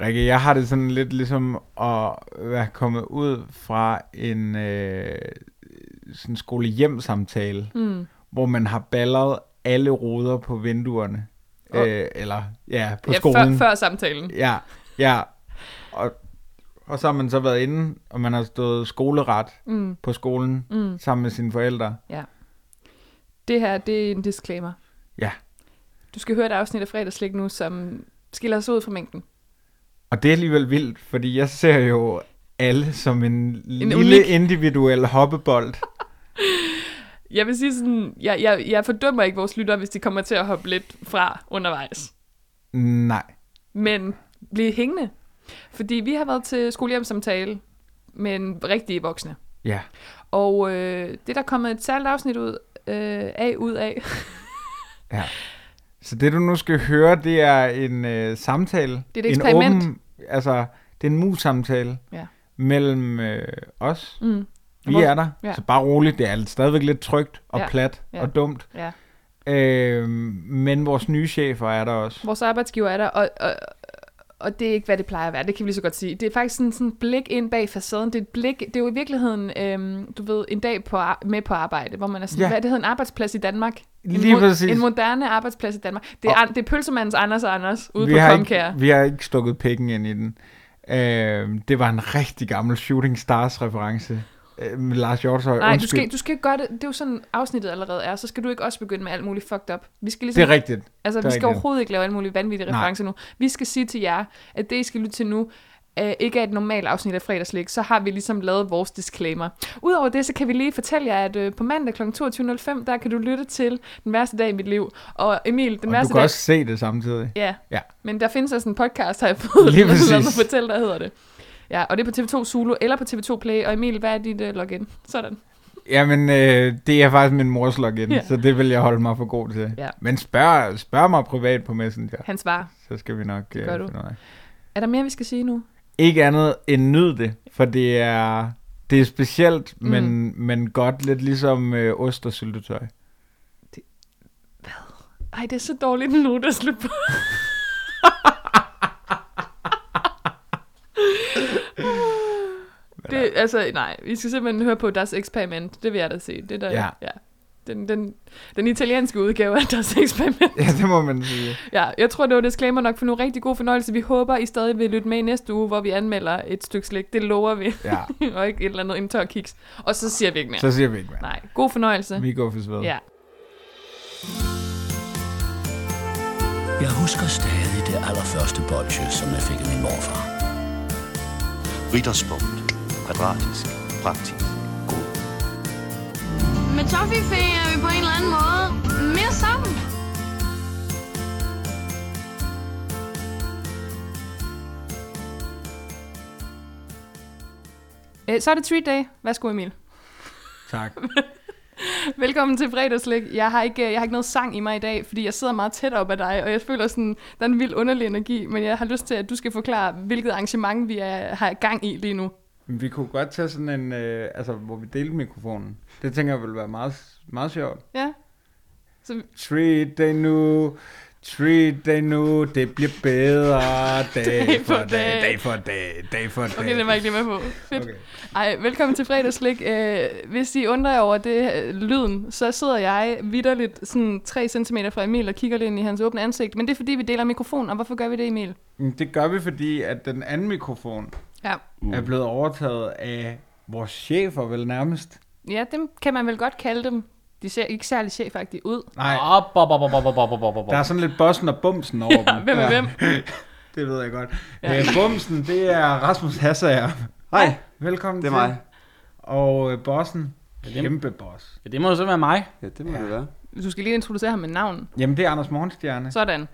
Rikke, jeg har det sådan lidt ligesom at være kommet ud fra en øh, sådan skole-hjem-samtale, Mm. hvor man har balleret alle ruder på vinduerne. Og- Øh, eller, ja, på ja, skolen. før, før samtalen. Ja, ja. Og, og så har man så været inde, og man har stået skoleret Mm. på skolen Mm. sammen med sine forældre. Det her, det er en disclaimer. Ja. Du skal høre et afsnit af fredagslik nu, som skiller os ud fra mængden. Og det er alligevel vildt, fordi jeg ser jo alle som en, en lille unik- individuel hoppebold. Jeg vil sige sådan, jeg, jeg, jeg fordømmer ikke vores lyttere, hvis de kommer til at hoppe lidt fra undervejs. Nej. Men bliv hængende. Fordi vi har været til skolehjemsamtale med en rigtige voksne. Ja. Og øh, det er der er kommet et særligt afsnit ud øh, af ud af. Så det du nu skal høre, det er en øh, samtale. Det er et eksperiment. En åben, altså, det er en mus-samtale Ja. mellem øh, os. Mm. Vi Vores- er der. ja. Så bare roligt, det er stadigvæk lidt trygt og Ja, plat ja. og dumt. Ja. Øh, men vores nye chefer er der også. Vores arbejdsgiver er der, og, og, og det er ikke, hvad det plejer at være. Det kan vi lige så godt sige. Det er faktisk sådan sådan et blik ind bag facaden. Det er, et blik, det er jo i virkeligheden, øhm, du ved, en dag på, ar- med på arbejde, hvor man er sådan, Ja. ja. hvad det hedder, en arbejdsplads i Danmark. En, Lige mo- præcis. en moderne arbejdsplads i Danmark. Det er, an, det er pølsemandens Anders og Anders ude vi på har Comcare. ikke, Vi har ikke stukket pikken ind i den. Øh, det var en rigtig gammel Shooting Stars-reference øh, med Lars Hjortøj. Nej, du Undskyld. skal, du skal gøre det. Det er jo sådan, afsnittet allerede er. Så skal du ikke også begynde med alt muligt fucked up. Vi skal Det ligesom er rigtigt. Altså, Der er vi skal ikke noget. overhovedet ikke lave alle mulige vanvittige Nej. referencer nu. Vi skal sige til jer, at det, I skal lytte til nu, øh, ikke er et normalt afsnit af fredagslik, så har vi ligesom lavet vores disclaimer. Udover det, så kan vi lige fortælle jer, at øh, på mandag kl. 22.05, der kan du lytte til Den værste dag i mit liv. Og Emil, Den Og du værste kan dag... også se det samtidig. Ja. Ja. men der findes også en podcast, har jeg fået, Lige lad mig præcis. fortælle, der hedder det. Ja, og det er på TV2 Zulu eller på TV2 Play. Og Emil, hvad er dit øh, login? Sådan. Jamen, øh, det er faktisk min mors login, Ja. ja. så det vil jeg holde mig for god til. Ja. Men spørg, spørg mig privat på Messenger, Han svarer. så skal vi nok Det gør du. noget af. Er der mere, vi skal sige nu? Ikke andet end nyd det, for det er, det er specielt, mm. men, men godt lidt ligesom øh, ost og syltetøj. Ej, det er så dårligt en note at slutte på. det, altså, nej, vi skal simpelthen høre på Das Experiment. Det vil jeg da se. Det der, Ja. ja. Den, den, den italienske udgave af Das Experiment. Ja, det må man sige. Ja, jeg tror, det var disclaimer nok for nu. Rigtig god fornøjelse. Vi håber, I stadig vil lytte med i næste uge, hvor vi anmelder et stykke slik. Det lover vi. Ja, og ikke et eller andet en tør kiks. Og så siger vi ikke mere. så siger vi ikke mere. Nej, god fornøjelse. Vi går for sved. Ja. Jeg husker stadig det allerførste bolsje, som jeg fik af min morfar. Ritterspunkt. Kvadratisk. Praktisk. God. Med Toffifee er vi på en eller anden måde mere sammen. Øh, Så er det treat day. Værsgo, Emil. Tak. Velkommen til fredagslæg. Jeg har, ikke, jeg har ikke noget sang i mig i dag, fordi jeg sidder meget tæt op ad dig, og jeg føler sådan, der er en vild underlig energi, men jeg har lyst til, at du skal forklare, hvilket arrangement vi er, har gang i lige nu. Men Vi kunne godt tage sådan en, øh, altså hvor vi delte mikrofonen. Det tænker jeg ville være meget, meget sjovt. Ja? Treat day nu, treat day nu, det bliver bedre dag for dag, dag for dag, dag for dag. Okay, det var jeg ikke lige med på. Fedt. Okay. Ej, velkommen til fredagslæg. Øh, hvis I undrer jer over det øh, lyden, så sidder jeg vidderligt sådan 3 cm fra Emil og kigger lidt ind i hans åbne ansigt, men det er fordi, vi deler mikrofon, og hvorfor gør vi det, Emil? Men Mm, Det gør vi, fordi at den anden mikrofon Ja. mm. Uh. er blevet overtaget af vores chefer vel nærmest. Ja, dem kan man vel godt kalde dem. De ser ikke særlig chefagtige ud. Nej, Op, op, op, op, op, op, op, op, op. der er sådan lidt bossen og bumsen over ja, dem. Hvem er Ja, hvem? Det ved jeg godt. Ja. Ja. Øh, bumsen, det er Rasmus Hassager. Hej. Velkommen Det er til. mig. Og øh, bossen, dem. kæmpe boss. Ja, det må jo så være mig. Ja, det må ja. det være. Du skal lige introducere ham med navn. Jamen, det er Anders Morgenstjerne. Sådan.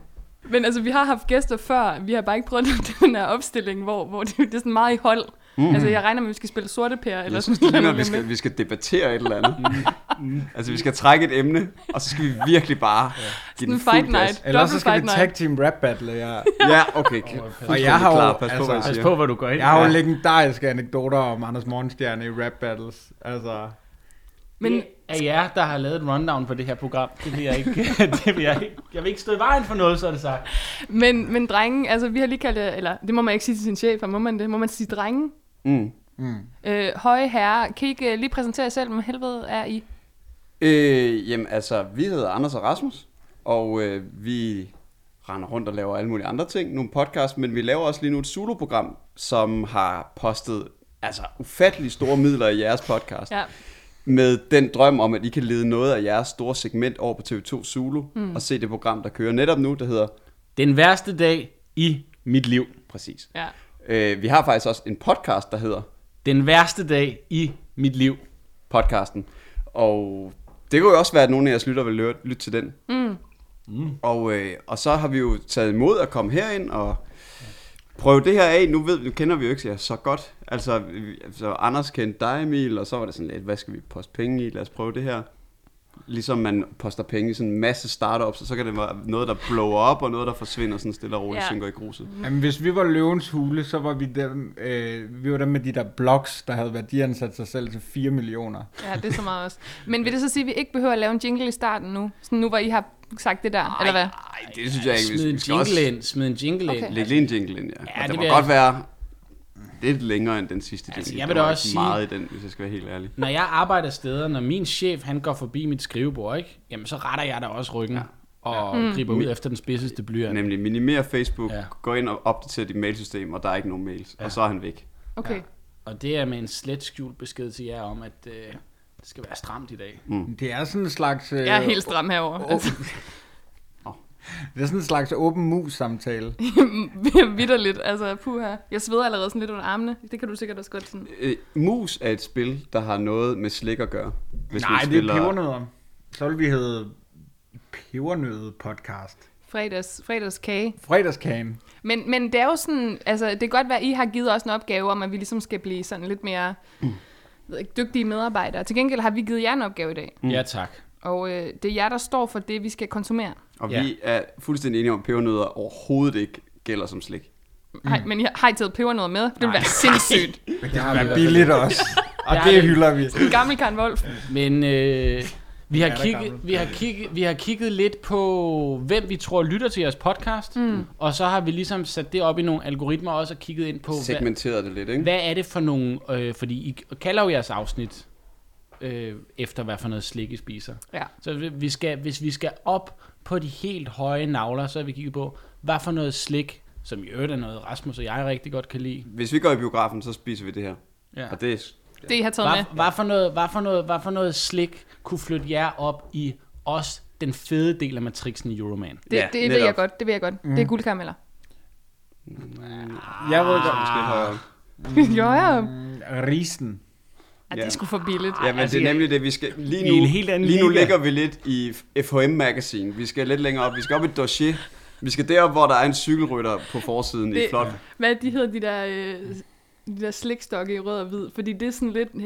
Men altså, vi har haft gæster før, vi har bare ikke prøvet den her opstilling, hvor, hvor det, det er sådan meget i hold. Mm. Altså, jeg regner med, at vi skal spille sorte pære, eller Jeg sådan synes, noget. Mm. det ligner, at vi lige om skal, lidt. vi skal debattere et eller andet. altså, vi skal trække et emne, og så skal vi virkelig bare give Sådan den en fuld fight gas. night. Ellers Dobbelt så skal vi fight night. tag team rap battle, ja. Ja, okay. Og jeg har jo- klar. Pas på, hvad jeg altså- Pas siger. på, hvad du går ind. Jeg har jo Mm. legendariske anekdoter om Anders Morgenstjerne i rap battles. Altså, Men Det af jer, der har lavet et rundown på det her program. Det vil jeg ikke. det vil jeg, ikke. jeg vil ikke stå i vejen for noget, så er det sagt. Men, men drenge, altså vi har lige kaldt det, eller det må man ikke sige til sin chef, må man det? Må man sige drenge? Mm. Øh, høje herre, kan I ikke øh, lige præsentere jer selv, hvem helvede er I? Øh, jamen altså, vi hedder Anders og Rasmus, og øh, vi render rundt og laver alle mulige andre ting, nogle podcasts, men vi laver også lige nu et soloprogram, som har postet altså ufattelig store midler i jeres podcast. Ja. med den drøm om, at I kan lede noget af jeres store segment over på TV2 Zulu mm. og se det program, der kører netop nu, der hedder Den værste dag i mit liv. Præcis. ja. Øh, vi har faktisk også en podcast, der hedder Den værste dag i mit liv. Podcasten. Og det kunne jo også være, at nogle af jeres lytter vil lytte, lytte til den. Mm. Mm. Og, øh, og så har vi jo taget imod at komme herind og prøve det her af. Nu, ved, nu kender vi jo ikke jer så godt. Altså, vi- så Anders kendte dig, Emil, og så var det sådan lidt, hvad skal vi poste penge i? Lad os prøve det her. Ligesom man poster penge i sådan en masse startups, og så kan det være noget, der blower op, og noget, der forsvinder sådan stille og roligt, Ja. ja. synker i gruset. Jamen, hvis vi var løvens hule, så var vi dem, øh, vi var dem med de der blogs, der havde værdiansat sig selv til 4 millioner. ja, det er så meget også. Men vil det så sige, at vi ikke behøver at lave en jingle i starten nu? Sådan nu, hvor I har sagt det der, Ej. eller hvad? Nej, det synes jeg ikke. Smid en jingle ind. Smid en jingle ind. Okay. Læg lige en jingle ind, ja. Ja, ja det og det må vil godt være lidt længere end den sidste jingle. Altså, Altså, jeg vil da også sige- meget i den, hvis jeg skal være helt ærlig. Når jeg arbejder steder, når min chef han går forbi mit skrivebord, ikke? Jamen, så retter jeg da også ryggen ja. og mm. griber ud efter den spidseste blyant. Nemlig minimere Facebook, Ja. ja. gå ind og opdater dit mailsystem, og der er ikke nogen mails. Ja. Og så er han væk. Okay. Ja. Og det er med en slet skjult besked til jer om, at øh, det skal være stramt i dag. Det er sådan en slags... Øh, Jeg er helt stram herovre. Altså, Det er sådan en slags åben mus-samtale. vidderligt. Altså, puha. Jeg sveder allerede sådan lidt under armene. Det kan du sikkert også godt sådan. Øh, mus er et spil, der har noget med slik at gøre. Hvis Nej, det er pebernødder. Så vil vi hedde pebernøde podcast. Fredags, fredagskage. Fredagskagen. Men, men det er jo sådan, altså det kan godt være, at I har givet os en opgave om, at vi ligesom skal blive sådan lidt mere ved ikke, dygtige medarbejdere. Til gengæld har vi givet jer en opgave i dag, Mm. Ja, tak. og øh, det er jer, der står for det, vi skal konsumere. Og Ja. vi er fuldstændig enige om, at pebernødder overhovedet ikke gælder som slik. Nej, Mm. men I har, har I taget peber noget med? Det ville være sindssygt. Det er billigt også. Og Ja, det det- hylder vi. En gammel Karen Wolf. Men øh, vi, har er da kigget, gammel. vi, har kigget, vi har kigget lidt på, hvem vi tror lytter til jeres podcast. Mm. Og så har vi ligesom sat det op i nogle algoritmer også og kigget ind på, hvad, Segmenteret det lidt, ikke? hvad er det for nogle... Øh, fordi I kalder jo jeres afsnit øh, efter, hvad for noget slik I spiser. Ja. Så vi- vi skal, hvis vi skal op på de helt høje navler, så har vi kigget på, hvad for noget slik, som i øvrigt er noget Rasmus og jeg rigtig godt kan lide. Hvis vi går i biografen, så spiser vi det her. Ja. Og det er Det, I har taget med. Hvad, hvad, for noget, hvad, for noget, hvad for noget slik kunne flytte jer op i os den fede del af matrixen i Euroman? Det, Ja, det, det ved netop. jeg godt, det ved jeg godt. Mm. Det er guldkarameller. Jeg ved godt. måske lidt højere. jo, ja. Risen. Ej, altså, det er sgu for billigt. Ja, men det er nemlig det, vi skal... Lige i nu, en helt anden lige nu liga. ligger vi lidt i FHM Magazine. Vi skal lidt længere op. Vi skal op i dossier. Vi skal derop, hvor der er en cykelrytter på forsiden det... i Det- flot. Hvad de hedder, de der, øh, de der slikstokke i rød og hvid? Fordi det er sådan lidt... Ah,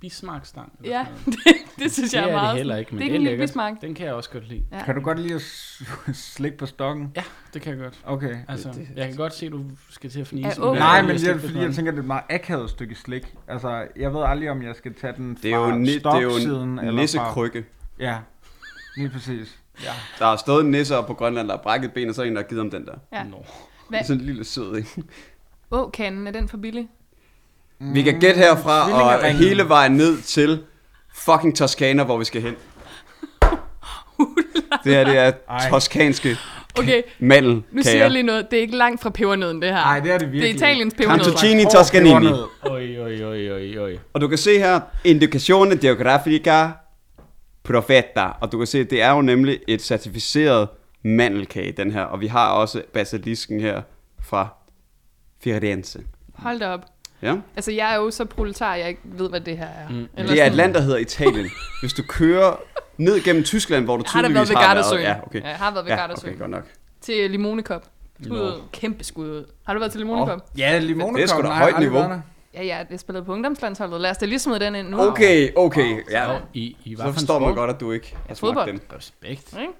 bismarkstang. eller Ja, sådan noget. det, det synes det jeg er er meget... det heller ikke, men det er det, ikke en det er lille bismarck. lækkert. Den kan jeg også godt lide. Kan du godt lide at s- slikke på stokken? Ja, det kan jeg godt. Okay. Altså, jeg kan godt se, at du skal til at Er fnise. ung. men- Nej, Nej, men det slik er på fordi, sådan. jeg tænker, det er et meget akavet stykke slik. Altså, jeg ved aldrig, om jeg skal tage den fra Det er jo, en ni- det er jo stoksiden. en eller fra- nissekrykke. Ja, lige præcis. Der har stået en nisse oppe på Grønland, der har brækket ben, og så er der en, der har givet om den der. Ja. Nå. Hvad? Sådan en lille sød, ikke? Åkanden, er den for billig? Vi kan Mm, gætte herfra og Tvillingeringen. hele vejen ned til fucking Toskana, hvor vi skal hen. Det her, det er Ej. toskanske Okay, nu siger jeg mandelkager. lige noget. Det er ikke langt fra pebernøden, det her. Nej, det er det det er virkelig. Italiens pebernød. Cantuccini Åh, Toscanini. pebernød. Oj, oj, oj, oj, oj. Og du kan se her, Indicazione Geografica Profeta. Og du kan se, det er jo nemlig et certificeret mandelkage, den her. Og vi har også basilisken her fra Firenze. Hold da op. Ja? Altså, jeg er jo så proletar, jeg ikke ved, hvad det her er. Mm. Eller Det er et sådan- land, der hedder Italien. Hvis du kører ned gennem Tyskland, hvor du Jeg har da tydeligvis været ved har været. Gardasøen. Ja, okay. Jeg har været ved ja, Gardasøen. okay, godt nok. Til Limonekop. Skud ud. Kæmpe skud ud. Har du været til Limonekop? Oh. Ja, limonekongen. Det er sgu da har højt aldrig niveau. været der. Ja, ja, jeg spillede på ungdomslandsholdet. Lad os da lige smide den ind nu. Okay, okay. Ja, Ja. I, I var så forstår man godt, at du ikke har smagt fodbold. den. Respekt. Ikke?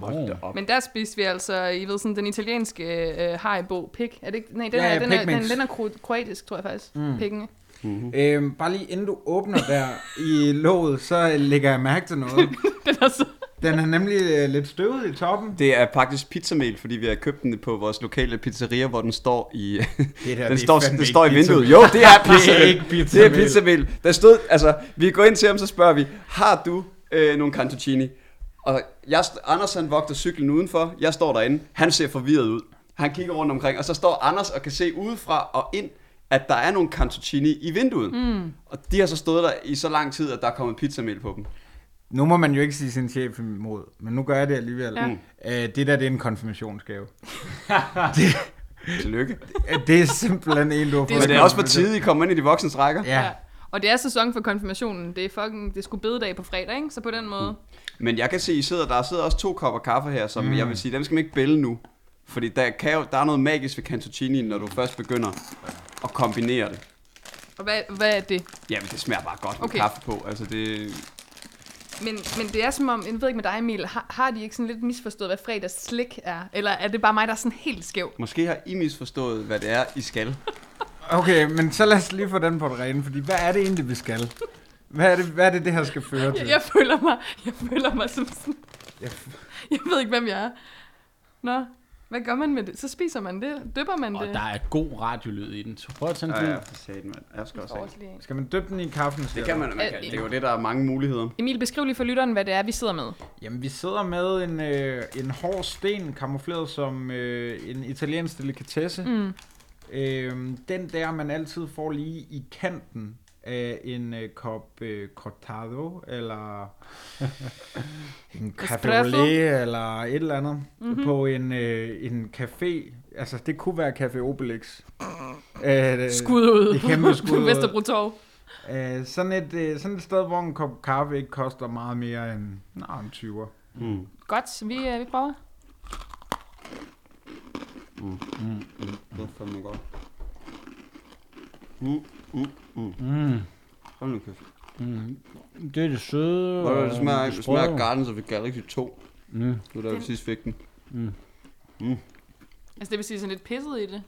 Hold da op. Men der spiste vi altså, I ved sådan, den italienske øh, haribo pik. Er det ikke? Nej, den, Ja, er, ja, den, er, den, pikmix. den er kro- kroatisk, tror jeg faktisk. Mm. Pikken. ikke? Mm-hmm. Øhm, bare lige inden du åbner der i låget, så lægger jeg mærke til noget. Den er så... Den er nemlig øh, lidt støvet i toppen. Det er faktisk pizzamel, fordi vi har købt den på vores lokale pizzeria, hvor den står i, Det der, den det er står, fandme den ikke står i pizzamel. vinduet. Jo, det er pizzamel. ikke det pizzamel. er pizzamel. Der stod, altså, vi går ind til ham, så spørger vi, har du øh, nogle cantuccini? Og jeg, st- Anders han vogter cyklen udenfor, jeg står derinde, han ser forvirret ud. Han kigger rundt omkring, og så står Anders og kan se udefra og ind, at der er nogle cantuccini i vinduet. Mm. Og de har så stået der i så lang tid, at der er kommet pizzamel på dem. Nu må man jo ikke sige sin chef imod, men nu gør jeg det alligevel. Ja. Øh, det der, det er en konfirmationsgave. Tillykke. Øh, Det er simpelthen en, du har fået. Men det er også på tide, I kommer ind i de voksnes rækker. Ja. Og det er sæson for konfirmationen. Det er fucking, det skulle bededag på fredag, ikke? Så på den måde. Men jeg kan se, I sidder, der sidder også to kopper kaffe her, som mm. jeg vil sige, dem skal man ikke bælge nu. Fordi der, kan jo, der er noget magisk ved cantuccini, når du først begynder at kombinere det. Og hvad, hvad er det? Jamen, det smager bare godt med Okay. okay. kaffe på. Altså, det, Men, men det er som om, jeg ved ikke med dig Emil, har, har de ikke sådan lidt misforstået, hvad fredags slik er? Eller er det bare mig, der er sådan helt skæv? måske har I misforstået, hvad det er, I skal. Okay, men så lad os lige få den på det rene, fordi hvad er det egentlig, vi skal? Hvad er det, hvad er det, det her skal føre til? Jeg, jeg, føler mig, jeg føler mig som sådan... Jeg ved ikke, hvem jeg er. Nå, hvad gør man med det? Så spiser man det, dypper man Og det. der er god radiolyd i den. Så prøv at tænke Ja, ja, ja. for satan, mand. Jeg skal også have. en. Ordentligt. Skal man dyppe den i kaffen? Det kan man, man kan. Det er jo det, der er mange muligheder. Emil, beskriv lige for lytteren, hvad det er, vi sidder med. Jamen, vi sidder med en, øh, en hård sten, kamufleret som øh, en italiensk delikatesse. Mm. Øhm, den der, man altid får lige i kanten af en øh, kop øh, cortado, eller en cabriolet, eller et eller andet, Mhm. mm-hmm. på en, øh, en café. Altså, det kunne være Café Obelix. Øh, Skud ud. Det er kæmpe skud På ud. Vesterbro Torv. Øh, sådan, et, øh, sådan et sted, hvor en kop kaffe ikke koster meget mere end, nej, en 20'er. Godt, vi, øh, vi prøver. Det er fandme godt. Mm, mm, mm. Hold nu kæft. Det er det søde. Hvor det og smager, det smager sprøde. Guardians of the Galaxy 2. Mm. Nu der vi sidst fik den. Altså det vil sige sådan lidt pisset i det.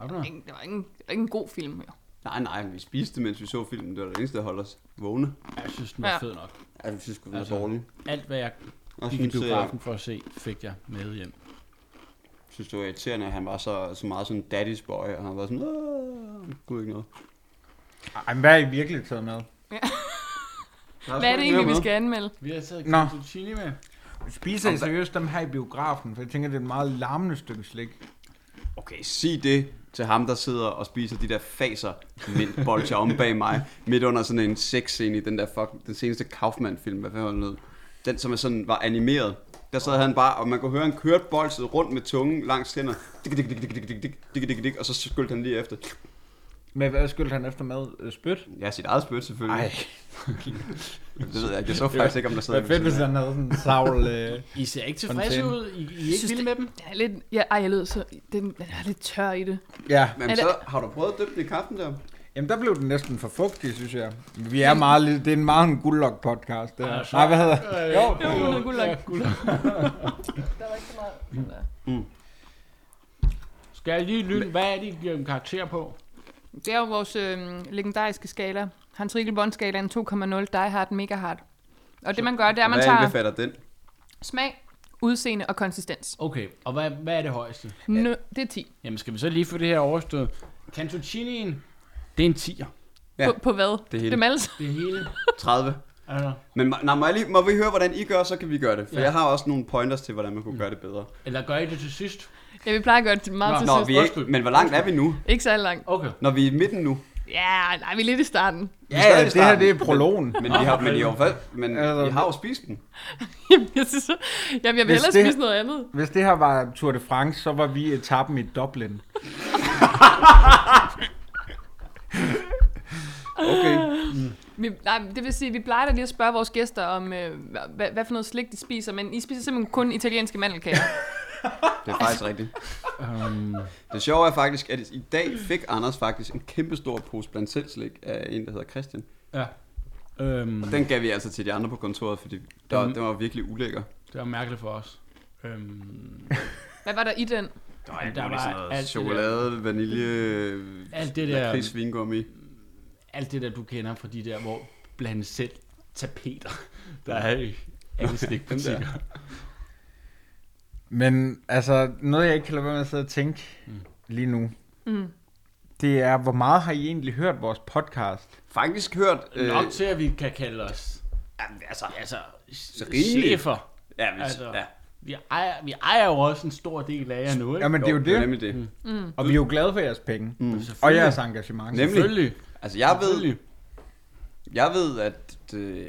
Er du der? Ingen- Det var ikke, en- det var ikke en god film. Jo. Nej, nej, men vi spiste det, mens vi så filmen. Det var det eneste, der holdt os vågne. Jeg synes, den var Ja. fed nok. Ja, vi synes sgu, den var Altså, dårlig. Alt, hvad jeg Og gik i synes, jeg biografen for at se, fik jeg med hjem. synes, det var irriterende, at han var så, så meget sådan daddy's boy, og han var sådan, Åh, han kunne ikke noget. Ej, men hvad er I virkelig taget med? Hvad er det egentlig, vi skal anmelde? Vi har taget Nå. Constantini med. Spiser I seriøst dem her i biografen? For jeg tænker, det er et meget larmende stykke slik. Okay, sig det til ham, der sidder og spiser de der faser, men bolcher om bag mig, midt under sådan en sexscene i den der fuck, den seneste Kaufman-film, hvad fanden var den hed? Den, som er sådan, var animeret. Der sad han bare, og man kunne høre, han kørte bolset rundt med tungen langs tænder. Dik, dik, dik, dik, dik, dik, dik, dik, dik, dik, og så skyldte han lige efter. Men hvad skyldte han efter med? Øh, Spyt? Ja, sit eget spøt selvfølgelig. Ej, Det ved jeg ikke. Jeg så faktisk ikke, om der det sidder er fedt, hvis han havde sådan en savl. Øh. I ser ikke tilfredse Fontæne. ud. I, I er ikke vilde med dem. Den er lidt, ja, ej, jeg lød så, den, den er lidt tør i det. Ja, Men så har du prøvet at dyppe den i kaffen der? jamen der blev den næsten for fugtig, synes jeg. Vi er meget lidt, det er en meget en guldlok podcast. Det her. Nej, hvad hedder Øh, Jo, jo, noget guldløg. ja, guldløg. Skal jeg lige lytte, hvad er det, I giver dem karakter på? Det er jo vores øh, legendariske skala. Hans Rikkelbånd-skalaen 2,0, Die Hard, Mega Hard. Og det man gør, det er, at man Hvad tager indbefatter den? smag, udseende og konsistens. Okay, og hvad, hvad er det højeste? Nø, det er 10. Jamen, skal vi så lige få det her overstået? Cantuccinien, det er en 10'er. Ja. På, på hvad? Det hele. Dem alle sammen. Det hele. 30. Altså, Men må- nej, må, jeg lige, må vi høre, hvordan I gør, så kan vi gøre det. For ja. jeg har også nogle pointers til, hvordan man Mm. kunne gøre det bedre. eller gør I det til sidst? Ja, vi plejer at gøre det meget Nå, til Nå, sidst. vi er undskyld. ikke, men hvor langt er vi nu? Ikke særlig langt. Okay. Når vi er i midten nu. Ja, nej, vi er lidt i starten. Ja, ja, det her starten. det er prologen. Men vi har, men i hvert fald, men Altså, I har jo spist den. Jamen, jeg, synes, så- jamen, jeg vil Hvis hellere det- spise noget andet. Hvis det her var Tour de France, så var vi etappen i Dublin. Okay. Vi, nej, det vil sige, at vi plejer da lige at spørge vores gæster om, øh, hvad, hvad for noget slik de spiser, men I spiser simpelthen kun italienske mandelkager. Det er faktisk rigtigt. Um. Det sjove er faktisk, at i dag fik Anders faktisk en kæmpe stor pose blandt selv slik af en, der hedder Christian. Ja. Øhm, Den gav vi altså til de andre på kontoret, fordi der, den var virkelig ulækker. det var mærkeligt for os. Øhm, hvad var der i den? Der var, der var alt det der. chokolade, vanilje, Alt det der. lakrids, vingummi. alt det der, du kender fra de der, hvor blandt selv tapeter, der er i alle slikbutikker. Men altså, noget jeg ikke kan lade være med at sidde og tænke mm. lige nu, mm. det er, hvor meget har I egentlig hørt vores podcast? Faktisk hørt... Nok til, at vi kan kalde os jamen, altså, altså, rigeligt. chefer. ja, hvis, Altså, altså, ja. Vi ejer, vi ejer jo også en stor del af jer nu, ikke? Jamen, det er jo Det er det, nemlig det. Mm. og vi er jo glade for jeres penge, mm. og jeres engagement. Nem- Selvfølgelig. Altså, jeg ved, Selvfølgelig. jeg ved at øh,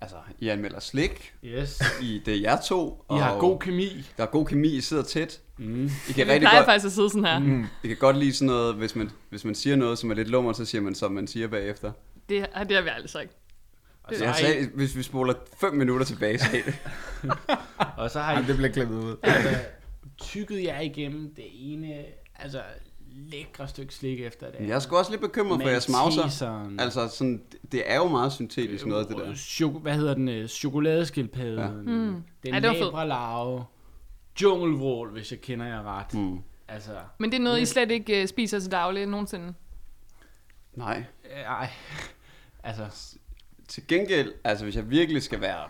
altså, I anmelder slik Yes. i det er jer to. I har god kemi. der er god kemi, I sidder tæt. Mm. I Jeg kan plejer rigtig godt, faktisk at sidde sådan her. Mm. I kan godt lide sådan noget, hvis man, hvis man siger noget, som er lidt lummer, så siger man, som man siger bagefter. Altså, Det, ej, det har vi aldrig sagt. Og så, Jeg har I, sagde, hvis vi spoler 5 minutter tilbage, så og så har I Ej, det bliver klippet ud. altså, tykket jer igennem det ene, altså lækre stykke slik efter det Men Jeg er sgu også lidt bekymret for jeres mauser. Malteseren. Altså, sådan, det- det er jo meget syntetisk noget, det der. Øh, Chok- hvad hedder den? øh, Chokoladeskildpadden. Ja. Mm. Den Ej, ja, det var fed. labre larve. Djungelvrål, hvis jeg kender jer ret. Mm. Altså, Men det er noget, I slet ikke uh, spiser til daglig nogensinde. Nej. øh, ej. Altså, Til gengæld, altså hvis jeg virkelig skal være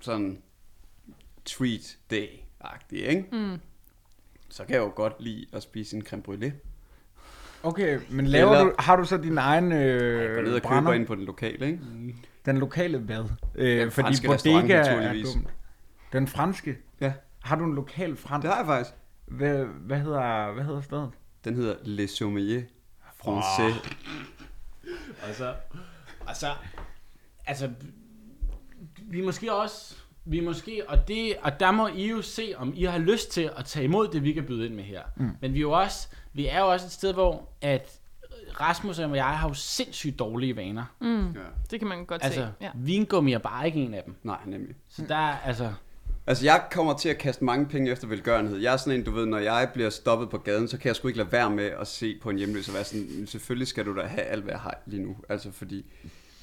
sådan treat day-agtig, ikke? Mm. Så kan jeg jo godt lide at spise en creme brûlée. Okay, men laver Eller- du, har du så din egen Jeg går øh, ned og køber brænder? Mm. ind på den lokale, ikke? Den lokale hvad? Den Øh, fordi franske restaurant, bodega er naturligvis. dumt. Den franske? Ja. Har du en lokal fransk? Det har jeg faktisk. Hvad, hvad, hedder, hvad hedder stedet? Den hedder Le Sommelier Français. Oh. og så, og så, altså, vi er måske også, vi er måske, og, det, og der må I jo se, om I har lyst til at tage imod det, vi kan byde ind med her. Mm. Men vi er jo også, vi er jo også et sted, hvor at Rasmus og jeg har jo sindssygt dårlige vaner. Mm. Det kan man godt Altså, se. Ja. Mm. vingummi er bare ikke en af dem. Nej, nemlig. Så der er, altså, Altså, jeg kommer til at kaste mange penge efter velgørenhed. Jeg er sådan en, du ved, når jeg bliver stoppet på gaden, så kan jeg sgu ikke lade være med at se på en hjemløs og være sådan, "Men selvfølgelig skal du da have alt, hvad jeg har lige nu. Altså, fordi...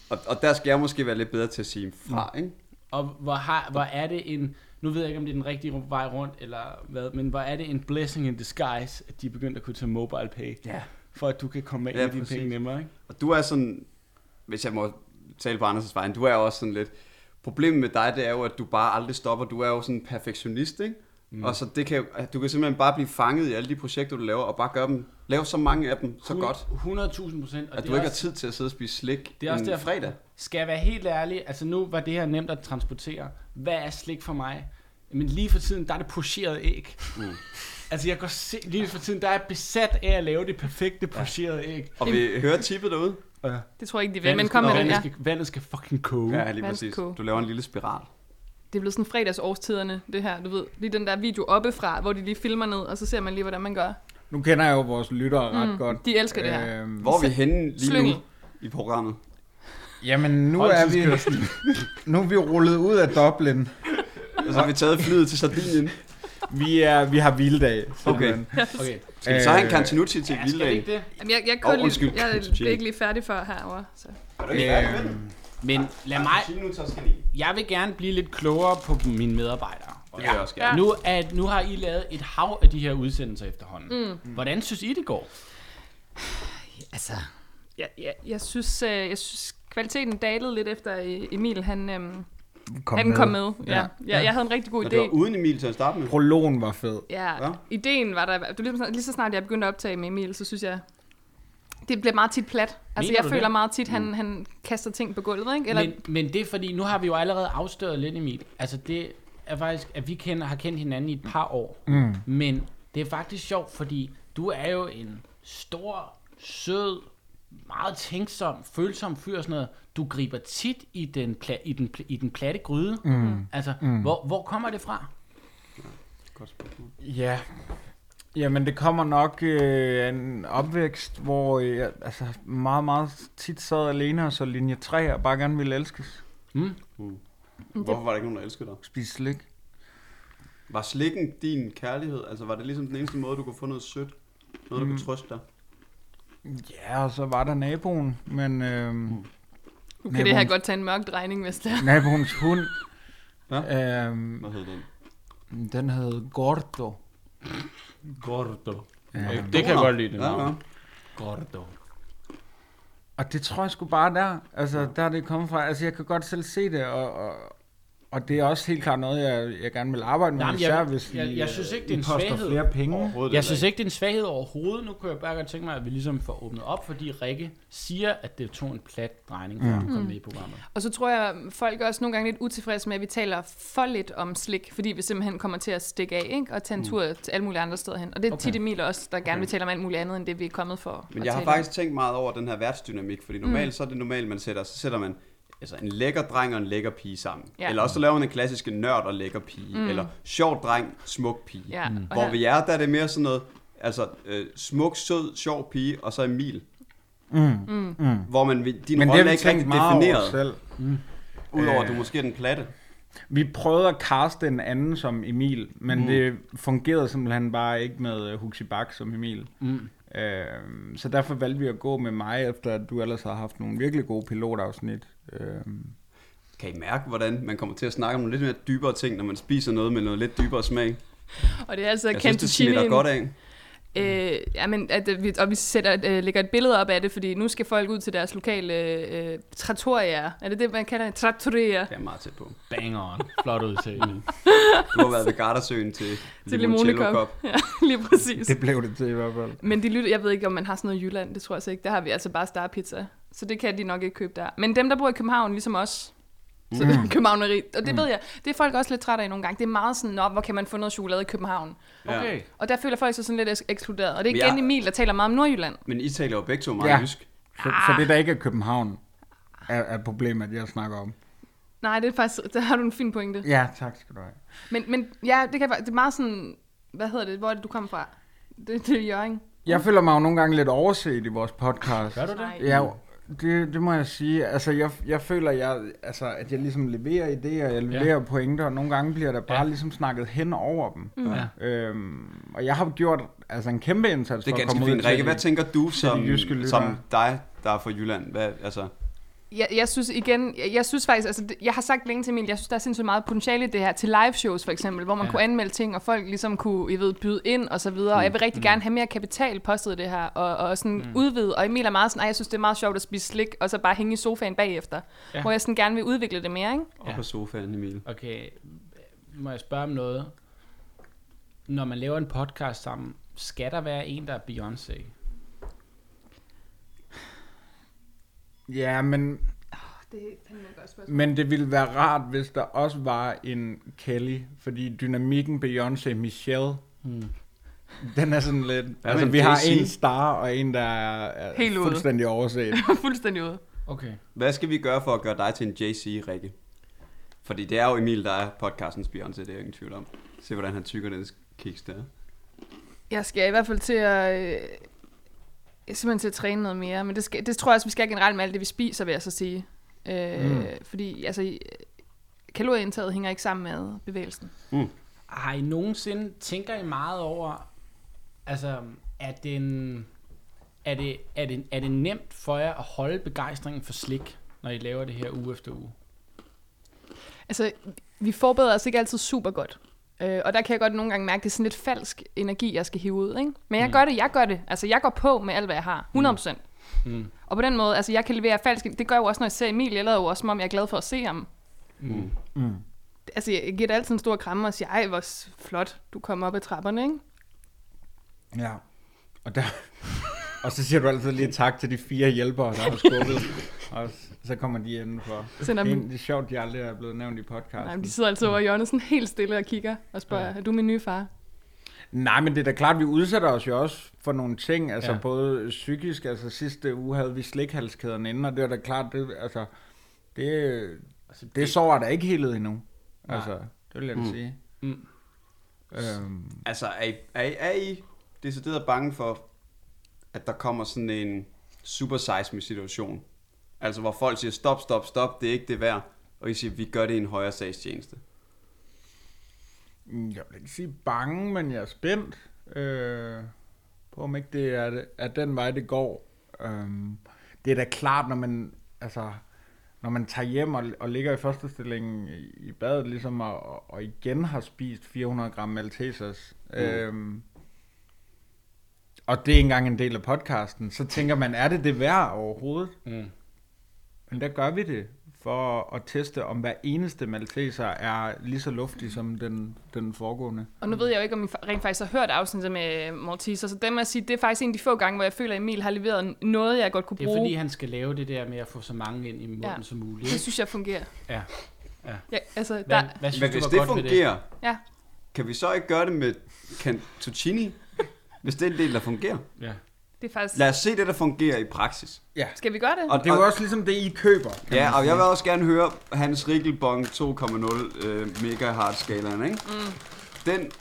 Og, og der skal jeg måske være lidt bedre til at sige fra, Mm. ikke? og hvor, har, hvor er det en, nu ved jeg ikke, om det er den rigtige vej rundt, eller hvad, men hvor er det en blessing in disguise, at de er begyndt at kunne tage mobile pay, ja. for at du kan komme af Ja, med dine præcis. penge nemmere, ikke? Og du er sådan, hvis jeg må tale på Anders' vejen, du er jo også sådan lidt, problemet med dig, det er jo, at du bare aldrig stopper. Du er jo sådan en perfektionist, ikke? Mm. Og så det kan, jo- du kan simpelthen bare blive fanget i alle de projekter, du laver, og bare gøre dem, lave så mange af dem så godt, 100.000 procent. at du ikke har tid til at sidde og spise slik Det er også en derfor, fredag. Skal jeg være helt ærlig, altså nu var det her nemt at transportere. Hvad er slik for mig? Men lige for tiden, der er det pocheret æg. Mm. Altså jeg går se, lige for tiden, der er jeg besat af at lave det perfekte pocherede æg. Og vi hører tippet derude. Det tror jeg ikke, de vil. Men kom med vandet, den, ja. skal, vandet skal fucking koge. Ja, lige Vand præcis. koge. Du laver en lille spiral. Det er blevet sådan fredagsårstiderne, det her, du ved. Lige den der video oppefra, hvor de lige filmer ned, og så ser man lige, hvordan man gør. Nu kender jeg jo vores lyttere ret godt. De elsker Mm. det Øh. her. Øhm, Hvor er vi henne lige Slyngel. nu i programmet? Jamen, nu er, vi, nu er vi rullet ud af Dublin. Og så Altså, har vi taget flyet til Sardinien. Vi, er, vi har vilddag. simpelthen. Okay. Skal vi så have en Cantinucci Ja, til skal det Vildag? ikke det? Jamen, jeg, jeg, Åh, kunne oh, undskyld. lige, jeg Undskyld. er ikke lige færdig før herover. Så. Øhm, Men Øh, lad mig, Nu tager skal jeg vil gerne blive lidt klogere på mine medarbejdere. Ja, også Ja. gerne. Nu, at, nu har I lavet et hav af de her udsendelser efterhånden. Mm. Hvordan synes I det går? Altså, jeg, jeg, jeg, synes, øh, jeg synes, kvaliteten dalede lidt efter øh, Emil, han, øhm, kom han kom med. Ja. Ja. Ja. Jeg, jeg havde en rigtig god Og idé. det var uden Emil til at starte med. Prologen var fed. Ja, Ja. ja. ideen var der... Du, lige, så snart- lige så snart jeg begyndte at optage med Emil, så synes jeg... Det bliver meget tit plat. Altså, Mener du jeg føler det? meget tit, han, han kaster ting på gulvet, ikke? Eller, Eller... Men, men det er fordi, nu har vi jo allerede afstøret lidt, Emil. Altså det er faktisk, at vi kender, har kendt hinanden i et par år. Mm. Men det er faktisk sjovt, fordi du er jo en stor, sød, meget tænksom, følsom fyr og sådan noget. Du griber tit i den, pla- i den, pl- i den platte gryde. Mm. Altså, mm. Hvor, hvor kommer det fra? Ja. Jamen, det kommer nok øh, af en opvækst, hvor øh, jeg altså, meget, meget tit sad alene og så linje 3 og bare gerne ville elskes. Uh. Hvorfor var der ikke nogen, der elskede dig? Spise slik. Var slikken din kærlighed? Altså var det ligesom den eneste måde, du kunne få noget sødt? Noget, der kunne trøste dig? Ja, og så var der naboen, men øh, mm. nu kan det her godt tage en mørk drejning, hvis det er. naboens hund, Hva? øh, Hvad hed den? den hed Gordo. Gordo. Ja. Det kan jeg godt lide, det Ja, ja. Gordo. Og det tror jeg sgu bare der. Altså, der er det kommet fra. Altså, jeg kan godt selv se det, og, og, og det er også helt klart noget, jeg, jeg gerne vil arbejde med, Jamen, jeg- især hvis jeg- I, jeg synes ikke, det er I en poster svaghed. flere penge. Jeg synes ikke, det er en svaghed overhovedet. Nu kunne jeg bare godt tænke mig, at vi ligesom får åbnet op, fordi Rikke siger, at det tog en plat drejning, før mm. han kom med i programmet. Og så tror jeg, folk er også nogle gange lidt utilfredse med, at vi taler for lidt om slik, fordi vi simpelthen kommer til at stikke af ikke? og tage en tur til alle mulige andre steder hen. Og det er okay. tit Emil også, der gerne vil tale om alt muligt andet, end det vi er kommet for Men at jeg har tale faktisk tænkt meget over den her værtsdynamik, fordi normalt mm. så er det normalt, man sætter, så sætter man altså en lækker dreng og en lækker pige sammen. Ja. Ja. Eller også så laver man en klassiske nørd og lækker pige, mm. eller sjov dreng, smuk pige. Ja, Mm. og Hvor her- vi er, der er det mere sådan noget, altså øh, smuk, sød, sjov pige, og så Emil. Mm. Mm. Hvor man, vil- din Men det har rolle er vi ikke rigtig tænkt meget over defineret, selv. udover at Øh. du måske er den platte. Vi prøvede at kaste en anden som Emil, men mm. det fungerede simpelthen bare ikke med øh, Huxi Bak som Emil. Mm. Øh, så derfor valgte vi at gå med mig, efter at du ellers har haft nogle virkelig gode pilotafsnit. Øh, Kan I mærke, hvordan man kommer til at snakke om nogle lidt mere dybere ting, når man spiser noget med noget lidt dybere smag? om. Og det er altså Jeg synes, det smitter cantuccini. godt af. Øh, ja, men at, øh, vi, og vi sætter, et, øh, lægger et billede op af det, fordi nu skal folk ud til deres lokale øh, trattorier. Er det det, man kalder det? Trattorier. Det er jeg meget tæt på. Bang on. Flot udtale. Du har været ved Gardasøen til, Til limoncello-kop. limonekop. Ja, lige præcis. det blev det til i hvert fald. Men de lytter, jeg ved ikke, om man har sådan noget i Jylland, det tror jeg så ikke. Der har vi altså bare Star Pizza, så det kan de nok ikke købe der. Men dem, der bor i København, ligesom os, så mm. københavneri, og det mm. ved jeg, det er folk også lidt trætte af nogle gange. Det er meget sådan, Nå, hvor kan man få noget chokolade i København? Okay. Ja. Og der føler folk sig sådan lidt eks- ekskluderet. Og det er Men igen jeg- Emil, der taler meget om Nordjylland. Men I taler jo begge to meget Ja. ja. jysk. Så, så det, der ikke er København, er, er problemet, jeg snakker om. Nej, det er faktisk, der har du en fin pointe. Ja, tak skal du have. Men, men ja, det, kan, være- det er meget sådan, hvad hedder det, hvor er det, du kommer fra? Det, det er Jørgen. Jeg føler mig jo nogle gange lidt overset i vores podcast. Gør du det? Ja, det, det må jeg sige. Altså, jeg, jeg føler, jeg, altså, at jeg ligesom leverer idéer, jeg leverer ja. pointer, og nogle gange bliver der bare ja. ligesom snakket hen over dem. Mm. Ja. Øhm, og jeg har jo gjort altså, en kæmpe indsats Det for er at ganske komme ud fint. til- Rikke, hvad tænker du som, jyske lyttere. som dig, der er fra Jylland? Hvad, altså, Jeg, jeg synes igen, jeg, jeg synes faktisk, altså, det- jeg har sagt længe til Emil, jeg synes, der er sindssygt meget potentiale i det her, til live shows for eksempel, hvor man ja. kunne anmelde ting, og folk ligesom kunne, I ved, byde ind og så videre, og jeg vil rigtig gerne have mere kapital postet i det her, og, og sådan mm. udvide, og Emil er meget sådan, "Ej, jeg synes, det er meget sjovt at spise slik, og så bare hænge i sofaen bagefter, ja. hvor jeg sådan gerne vil udvikle det mere, ikke? op på sofaen, Emil. Okay, må jeg spørge om noget? Når man laver en podcast sammen, skal der være en, der er Beyoncé? Ja, men, Det er et godt spørgsmål. men det ville være rart, hvis der også var en Kelly, fordi dynamikken Beyoncé Michelle, hmm. den er sådan lidt... med altså, en vi har Jay-Z? en star og en, der er, er Helt ude. fuldstændig overset. Fuldstændig ude. Okay. Hvad skal vi gøre for at gøre dig til en JC, Rikke? Fordi det er jo Emil, der er podcastens Beyoncé, det er jeg ingen tvivl om. Se, hvordan han tykker den kiks der. Jeg skal i hvert fald til at... Øh, simpelthen til at træne noget mere, men det, skal, det tror jeg også, vi skal generelt med alt det, vi spiser, vil jeg så sige. Øh, mm. Fordi altså, øh, kalorieindtaget hænger ikke sammen med bevægelsen. Har I nogensinde, tænker I meget over, altså, er det, en, er, det, er, det, er det nemt for jer at holde begejstringen for slik, når I laver det her uge efter uge? Altså, vi forbereder os ikke altid super godt. Øh, og der kan jeg godt nogle gange mærke, at det er sådan lidt falsk energi, jeg skal hive ud. Ikke? Men jeg gør det, jeg gør det. Altså, jeg går på med alt, hvad jeg har. 100%. Mm. Mm. Og på den måde, altså, jeg kan levere falsk. Det gør jeg jo også, når jeg ser Emil. Jeg lader jo også, som om jeg er glad for at se ham. Mm. Mm. Altså, jeg giver det altid en stor kramme og siger, ej, hvor s- flot, du kom op ad trapperne, ikke? Ja. Og, der, og så siger du altid lige tak til de fire hjælpere, der har skubbet. og s- så kommer de indenfor. Sender dem- En, det er sjovt, de aldrig er blevet nævnt i podcasten. Nej, men de sidder altså over i hjørnet sådan helt stille og kigger og spørger, er du min nye far? Nej, men det er da klart, vi udsætter os jo også for nogle ting, altså Ja. ja. både psykisk, altså sidste uge havde vi slikhalskæden inde, og det er da klart, det, altså, det, altså, det, det sår er da ikke helet endnu. Altså, det vil jeg da sige. Mm. Øhm, Altså, er I, er I, er I decideret bange for, at der kommer sådan en super size me situation? Altså, hvor folk siger, stop, stop, stop, det er ikke det værd. Og I siger, vi gør det i en højere sagstjeneste. Jeg vil ikke sige bange, men jeg er spændt øh, på, om ikke det er, er den vej, det går. Øhm, det er da klart, når man, altså, når man tager hjem og, og ligger i første stilling i- i badet, ligesom og- og, og igen har spist 400 gram Maltesers. Mm. Øhm, og det er ikke engang en del af podcasten, så tænker man, er det det værd overhovedet? Mm. Men der gør vi det for at teste, om hver eneste malteser er lige så luftig som den, den foregående. Og nu ved jeg jo ikke, om I fa- rent faktisk har hørt afsnittet med Malteser, så dem må jeg sige, det er faktisk en af de få gange, hvor jeg føler, at Emil har leveret noget, jeg godt kunne Det er bruge. fordi, han skal lave det der med at få så mange ind i munden Ja. ja. som muligt. Det ikke? synes jeg fungerer. Ja. Ja, altså, Hvad, der, hvad synes Men du hvis var det godt ved fungerer, Ja. kan vi så ikke gøre det med cantuccini? hvis det er en del, der fungerer. det? Ja. det er faktisk... Lad os se det, der fungerer i praksis. Skal vi gøre det? Og det er jo også ligesom det, I køber. kan Ja, man og jeg sige. vil også gerne høre Hans Rikkelbong 2.0 øh, mega hard skalaen, ikke? Mm. Den,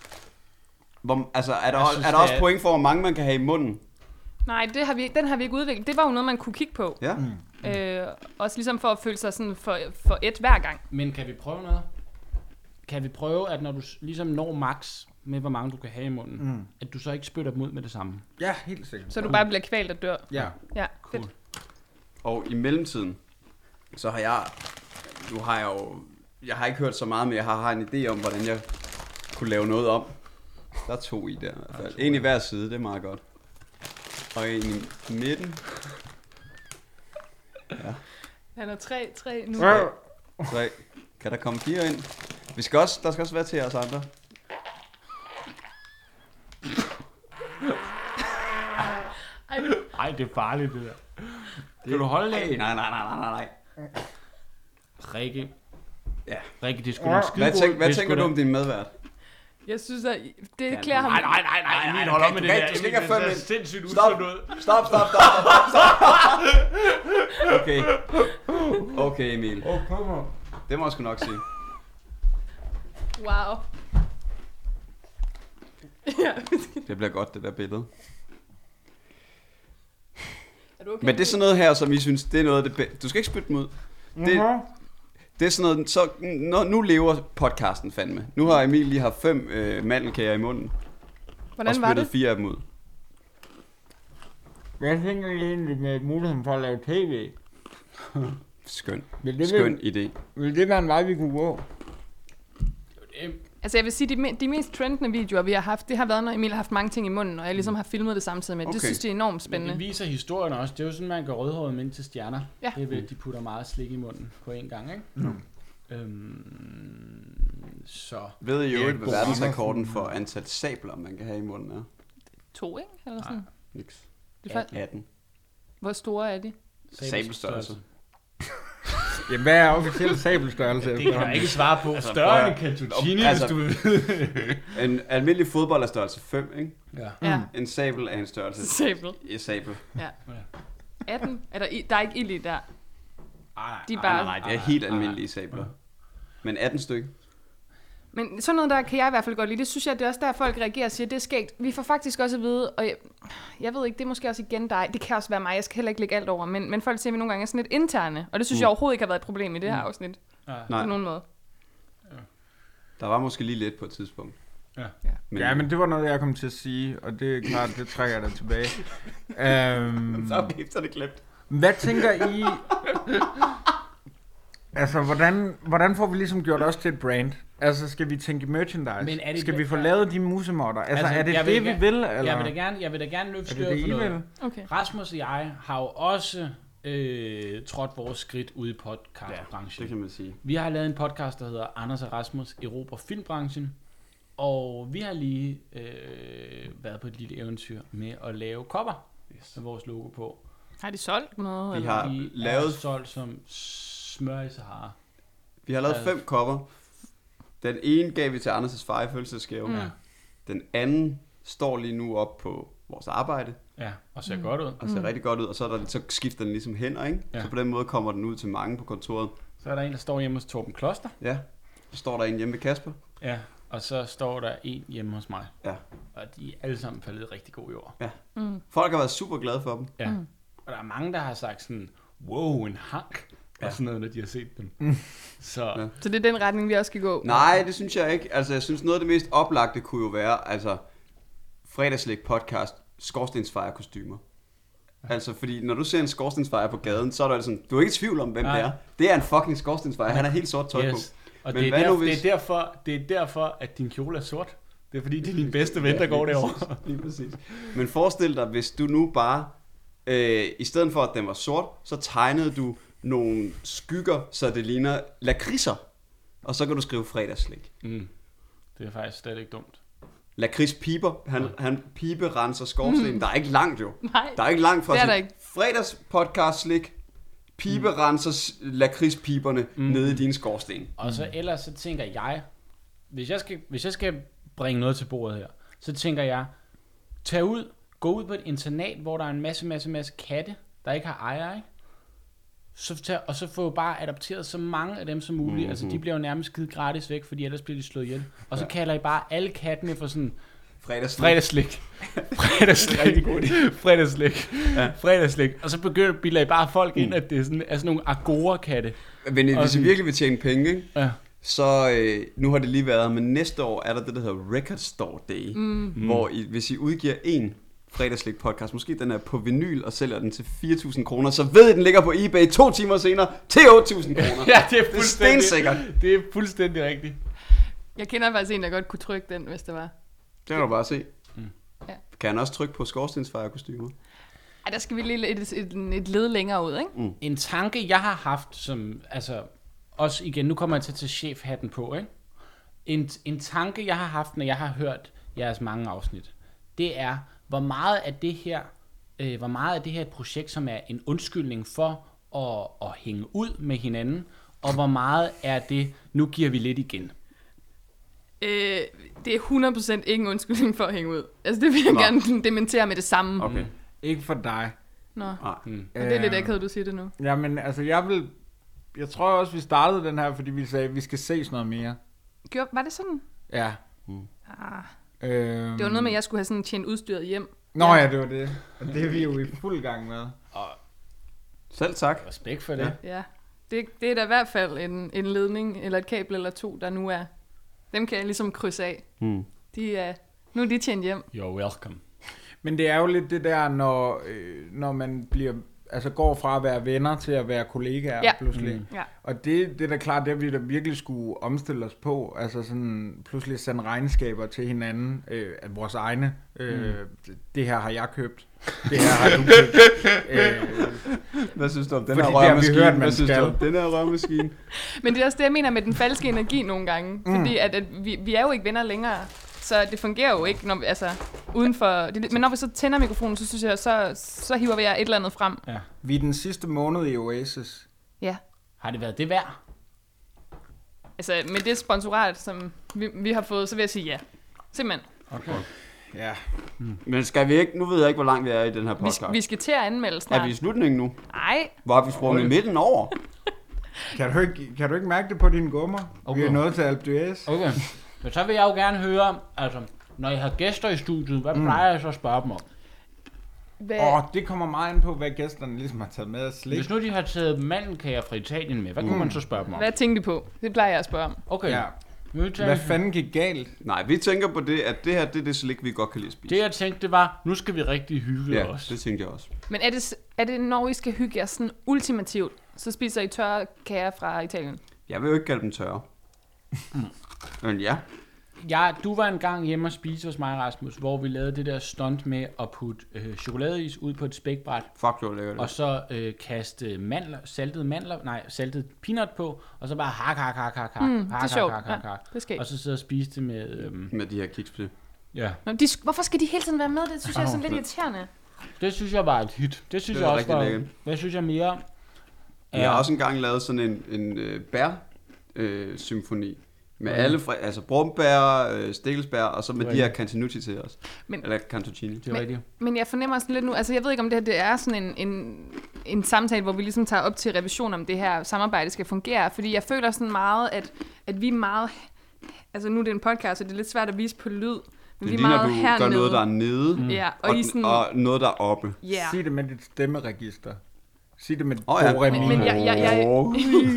hvor, altså, er der, Jeg synes, synes, er der det også er- point for, hvor mange man kan have i munden? Nej, det har vi, ikke- den har vi ikke udviklet. Det var jo noget, man kunne kigge på. Ja. Mm. Øh, også ligesom for at føle sig sådan for, for et hver gang. Men kan vi prøve noget? Kan vi prøve, at når du s- ligesom når max med, hvor mange du kan have i munden, mm. at du så ikke spytter dem ud med det samme? Ja, helt sikkert. Så du bare bliver kvalt og dør. Ja. Ja, Cool. fedt. Og i mellemtiden, så har jeg, nu har jeg jo, jeg har ikke hørt så meget, men jeg har, har en idé om, hvordan jeg kunne lave noget om. Der er to i der i hvert fald. En i hver side, det er meget godt. Og en i midten. Han er tre, tre nu. Ja. Tre. Kan der komme fire ind? Vi skal også, der skal også være til os andre. Nej, det er farligt, det der. Det... Kan du holde af? Nej, nej, nej, nej, nej, nej. Rikke. Ja. Rikke, det skulle ja. en skide Hvad, tænk, god- hvad det tænker sgu du da- om din medvært? Jeg synes, at det klæder ham. Nej, nej, nej, nej, nej, Emil, hold op med det du kan der. ikke- du skal Emil, ikke have det fem ser ind. sindssygt Stop. usundt ud. Stop, stop, stop, stop, stop. Okay. Okay, Emil. Åh, kom her. Det må jeg sgu nok sige. Wow. ja, Det bliver godt, det der billede. er du okay? Men det er sådan noget her, som I synes, det er noget af det bedste. Du skal ikke spytte dem ud. Det, det er sådan noget, så, nu, nu lever podcasten fandme. Nu har Emil lige haft fem øh, mandelkager i munden, og Hvordan var spyttet det? fire af dem ud. Hvad tænker I egentlig med muligheden for at lave tv? Skøn. Vil det, Skøn. Skøn idé. Vil, vil det være en vej, vi kunne gå? Altså jeg vil sige, de, me- de mest trendende videoer, vi har haft, det har været, når Emil har haft mange ting i munden, og jeg ligesom har filmet det samtidig med. Okay. Mm. Okay. Det synes jeg er enormt Men det spændende. viser historien også. Det er jo sådan, man gør rødhåret mænd til stjerner. Ja. Det er ved, at de putter meget slik i munden på én gang, ikke? Mm. Øhm, så Ved I jo Ja, ikke, hvad god. verdensrekorden for antal sabler, man kan have i munden er? To, ikke? Eller sådan. Niks. Det er for, 18. hvor store er de? Mm. Sabelstørrelse. Jamen, hvad er officiel sabelstørrelse? Det kan jeg ikke svare på. Altså, prøv Større at- end Cantuccini, Altså- altså, hvis du vil vide. En almindelig fodbold er størrelse 5, ikke? ja. Ja, En sabel er en størrelse simpel. i sabel. 18. Er der, i, der er ikke ild i der. Ej, De er Nej, bare... nej, det er helt almindelige sabler. ah, Men 18 stykker. Men sådan noget der kan jeg i hvert fald godt lide. Det synes jeg, det er også der, folk reagerer og siger, det er skægt. Vi får faktisk også at vide, og jeg, jeg ved ikke, det er måske også igen dig. Det kan også være mig, jeg skal heller ikke lægge alt over. Men, men folk siger, at vi nogle gange er sådan lidt interne. Og det synes mm. jeg overhovedet ikke har været et problem i det her afsnit. Mm. Nej, På nogen måde. der var måske lige lidt på et tidspunkt. Ja. Men, Ja, men det var noget, jeg kom til at sige, og det er klart, det trækker jeg da tilbage. Øhm, Så blev det klemt. hvad tænker I... Altså, hvordan, hvordan får vi ligesom gjort os til et brand? Altså, skal vi tænke merchandise? Men er det- skal vi få lavet de musemotter? Altså, Altså, altså er det jeg det, vil vi ikke- vil? Eller? Jeg vil da gerne, jeg vil da gerne løfte er det sløret det, for I noget. vil? Okay. Rasmus og jeg har jo også øh, trådt vores skridt ude i Ah, podcastbranchen. Det kan man sige. Vi har lavet en podcast, der hedder Anders og Rasmus Europa Filmbranchen. Og vi har lige øh, været på et lille eventyr med at lave kopper yes. med vores logo på. Har de solgt noget? Vi eller? har De er lavet, solgt som smør i Sahara. vi har lavet lavet- fem kopper. Den ene gav vi til Anders' far i fødselsdagsgave. Ja. Den anden står lige nu op på vores arbejde Ja, og ser mm. godt ud. og ser mm. rigtig godt ud, og så, er der, så skifter den ligesom hænder, ikke? Ja. Ja. Så på den måde kommer den ud til mange på kontoret. Så er der en, der står hjemme hos Torben Kloster. Ja, så står der en hjemme ved Kasper. Ja, og så står der en hjemme hos mig. Ja. Og de er alle sammen faldet rigtig god i år. Folk har været super glade for dem. Ja. Mm. Og der er mange, der har sagt sådan, wow, en hank. Ja. Og sådan noget, når de har set dem. Så ja. Mm. Ja. Så det er den retning, vi også skal gå. Nej, det synes jeg ikke. Altså, jeg synes, noget af det mest oplagte kunne jo være, altså, fredagslæg podcast, skorstensfejre kostymer. Altså, fordi når du ser en skorstensfejre på gaden, så er du sådan, du er ikke i tvivl om, hvem Nej. det er. Det er en fucking skorstensfejre. Han har helt sort tøj på. Og Men det er, hvad der, nu hvis... hvis- det, er derfor, det er derfor, at din kjole er sort. Det er fordi, det er din bedste ven, der går derovre. Lige præcis. Men forestil dig, hvis du nu bare, øh, i stedet for at den var sort, så tegnede du nogle skygger, så det ligner lakridser. Og så kan du skrive fredagsslik. Det er faktisk slet ikke dumt. Lakrids piber, han, han pibe renser skorstenen. Mm. Der er ikke langt jo. Nej, Der er ikke langt fra det er sådan der ikke. fredags podcast slik. Pibe mm. renser s- lakridspiberne mm. nede i din skorsten. Og så ellers så tænker jeg, hvis jeg, skal, hvis jeg skal bringe noget til bordet her, så tænker jeg, tag ud, gå ud på et internat, hvor der er en masse, masse, masse katte, der ikke har ejer, ikke? Så tag, og så få bare adopteret så mange af dem som muligt. Mm-hmm. Altså, de bliver jo nærmest givet gratis væk, fordi ellers bliver de slået ihjel. Og så kalder I bare alle kattene for sådan, Fredagsslik. Fredagslik. Fredagslik. Rigtig god idé. Fredagslik. Ja. Mm. Fredagslik. Og så begynder bilder I bare folk ind, at det er sådan, er sådan nogle agorakatte. Men hvis I Og- virkelig vil tjene penge, ikke? Ja. så øh, nu har det lige været, men næste år er der det, der hedder Record Store Day, mm. hvor I, hvis I udgiver en fredagslik podcast, måske den er på vinyl og sælger den til 4.000 kroner, så ved I, den ligger på eBay to timer senere til 8.000 kroner. ja, det er det er fuldstændig. stensikkert. Det er fuldstændig rigtigt. Jeg kender faktisk en, der godt kunne trykke den, hvis det var. Det kan du bare se. Ja. Kan han også trykke på skorstensfejerkostymer? Ej, der skal vi lige et, et, et, et led længere ud, ikke? Mm. En tanke, jeg har haft, som, altså, også igen, nu kommer jeg til at tage chefhatten på, ikke? En, en tanke, jeg har haft, når jeg har hørt jeres mange afsnit, det er, hvor meget af det her, øh, hvor meget af det her er et projekt, som er en undskyldning for at, at hænge ud med hinanden, og hvor meget er det, nu giver vi lidt igen. Øh, det er 100% ikke en undskyldning for at hænge ud. Altså, det vil jeg Nå. gerne dementere med det samme. Okay. Ikke for dig. Nå, Mm. men det er lidt Øhm, akavet, du siger det nu. Jamen, altså, jeg vil... Jeg tror også, vi startede den her, fordi vi sagde, at vi skal ses noget mere. Gjorde, var det sådan? Ja. Ah, Øhm, det var noget med, at jeg skulle have sådan tjent udstyret hjem. Nå ja, det var det. Og det er vi jo i fuld gang med. Selv tak. Respekt for det. Ja. Ja. Det, det er da i hvert fald en, en ledning, eller et kabel eller to, der nu er. Dem kan jeg ligesom krydse af. Mm. De er, nu er de tjent hjem. You're welcome. Men det er jo lidt det der, når, øh, når man bliver, altså går fra at være venner til at være kollegaer Ja. ja. pludselig. Mm. Ja. Og det, det er da klart, det har vi da virkelig skulle omstille os på. Altså sådan pludselig sende regnskaber til hinanden, øh, af vores egne. Øh, mm. Det her har jeg købt. Det her har du købt. øh, Hvad synes du om den Fordi her det har vi rørmaskine? hørt, man Hvad synes du om skal. den her rørmaskine? Men det er også det, jeg mener med den falske energi nogle gange. Mm. Fordi at, at vi, vi er jo ikke venner længere. Så det fungerer jo ikke, når, vi- altså, uden for... Det, men når vi så tænder mikrofonen, så synes jeg, så, så hiver vi jer et eller andet frem. vi er den sidste måned i Oasis. Ja. Har det været det værd? Altså, med det sponsorat, som vi, vi har fået, så vil jeg sige ja. Simpelthen. Ja. Men skal vi ikke, nu ved jeg ikke, hvor langt vi er i den her Vi, podcast. vi skal til at anmelde Er vi i snart. slutningen nu? Nej, Hvor har vi sprunget midten over? Kan du, ikke, kan du ikke mærke det på dine gummer? Okay. Vi er Okay. nået til Alpe d'Huez. Okay. Men så vil jeg jo gerne høre, altså, når jeg har gæster i studiet, hvad mm. plejer jeg så at spørge dem om? hvad, Åh, det kommer meget an på, hvad gæsterne ligesom har taget med af slik. Hvis nu de har taget mandelkager fra Italien med, hvad kunne man så spørge dem om? hvad tænkte de på? Det plejer jeg at spørge om. Okay, Ja. ja. nu tager Hvad vi- fanden gik galt? Nej, vi tænker på det, at det her, det er det slik, vi godt kan lide at spise. det jeg tænkte det var, nu skal vi rigtig hygge ja, ja, os. det tænkte jeg også. Men er det, s- er det, når I skal hygge jer sådan ultimativt, så spiser I tørre kager fra Italien? Jeg vil jo ikke kalde dem tørre. Mm. Men ja, Ja, du var engang hjemme og spise hos mig, Rasmus, hvor vi lavede det der stunt med at putte øh, chokoladeis ud på et spækbræt, fuck det var lækkert. og så øh, kaste mandler, saltede mandler, nej, saltet peanut på, og så bare hak, hak, hak, hak, hak, Mm, det er hak, sjovt. hak, hak, Ja, hak, det skal I. og så sidde og spise det med, øhm, Med de her kiks på det. ja, Nå, de, sk- hvorfor skal de hele tiden være med? Det synes jeg er sådan lidt irriterende. det synes jeg var et hit. Det synes Det det var jeg også rigtig var, lækkert. hvad synes jeg mere? Jeg har også engang lavet sådan en, en øh, bær-symfoni. med alle, fra, altså brumbær, øh, stikkelsbær, og så med de her cantinucci til os. Men- Eller cantuccini. Det er rigtigt. Men jeg fornemmer sådan lidt nu, altså jeg ved ikke, om det her det er sådan en, en, en samtale, hvor vi ligesom tager op til revision, om det her samarbejde skal fungere. Fordi jeg føler sådan meget, at, at vi er meget... Altså nu er det en podcast, så det er lidt svært at vise på lyd. Men Det vi er ligner, meget du gør noget, der er nede, mm. Ja, og, og, I er sådan... og noget, der er oppe. ja. Sig det med dit stemmeregister. Sig det med Åh, ja. do, re, mi. Men jeg, jeg, jeg,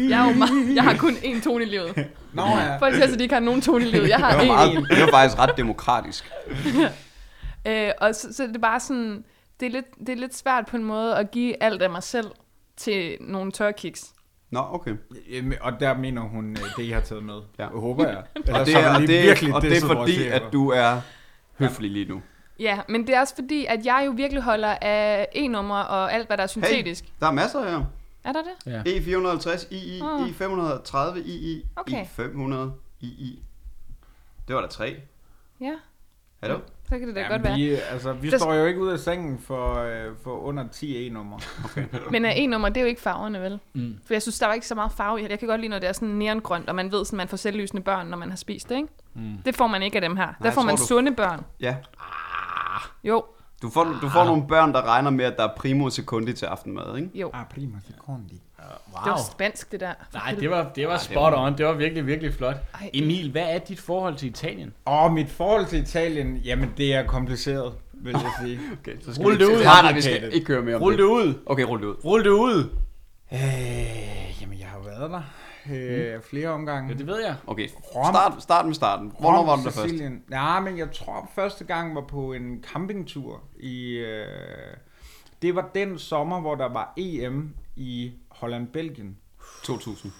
jeg, er jo meget, jeg har kun én tone i livet. Nå ja. Folk siger, at de ikke har nogen tone i livet. Jeg har Det var, én. meget, det var faktisk ret demokratisk. Øh, og så, så er det er bare sådan, det er, lidt, det er lidt svært på en måde at give alt af mig selv til nogle tørkiks. Nå, okay. Jamen, og der mener hun øh, det, I har taget med. Ja. Ja. Håber jeg. Og Ellers det har vi er, og lige det, virkelig er, og det er disset vores fordi, chefer. at du er høflig lige nu. Ja, men det er også fordi, at jeg jo virkelig holder af e-numre og alt, hvad der er syntetisk. Hey. Der er masser her. Er der det? Ja. E E450, II, E530, II, Okay. E500, II. Det var der tre. Ja, Er det? så kan det da godt Jamen, være. vi, altså, vi Der- står jo ikke ud af sengen for, øh, for under 10 E-nummer. Men uh, e-nummer, det er jo ikke farverne, vel? Mm. For jeg synes, der var ikke så meget farve i. Jeg kan godt lide, når det er sådan neongrønt, og man ved, at man får selvlysende børn, når man har spist det, ikke? Mm. Det får man ikke af dem her. Der jeg får man tror, du- sunde børn. Ja. Jo, Du får, du får nogle børn, der regner med, at der er primo sekundi til aftenmad, ikke? jo. Ah, prima secondi. Wow. Det var spansk, det der. Nej, det var, det var spot on. Det var virkelig, virkelig flot. Ej. Emil, hvad er dit forhold til Italien? Og mit forhold til Italien, jamen det er kompliceret, vil jeg sige. Okay, så skal Rul det ikke- ud. Nej, nej, vi skal ikke køre mere om Rul det ud. Okay, rul det ud. Rul det ud. øh, jamen jeg har jo været der øh, flere omgange. Ja, det ved jeg. Okay, Rom. start, start med starten. Hvornår Rom, var du der først? Sicilien. først? Nej, men jeg tror første gang var på en campingtur i... Øh, det var den sommer, hvor der var EM i Holland-Belgien. 2000.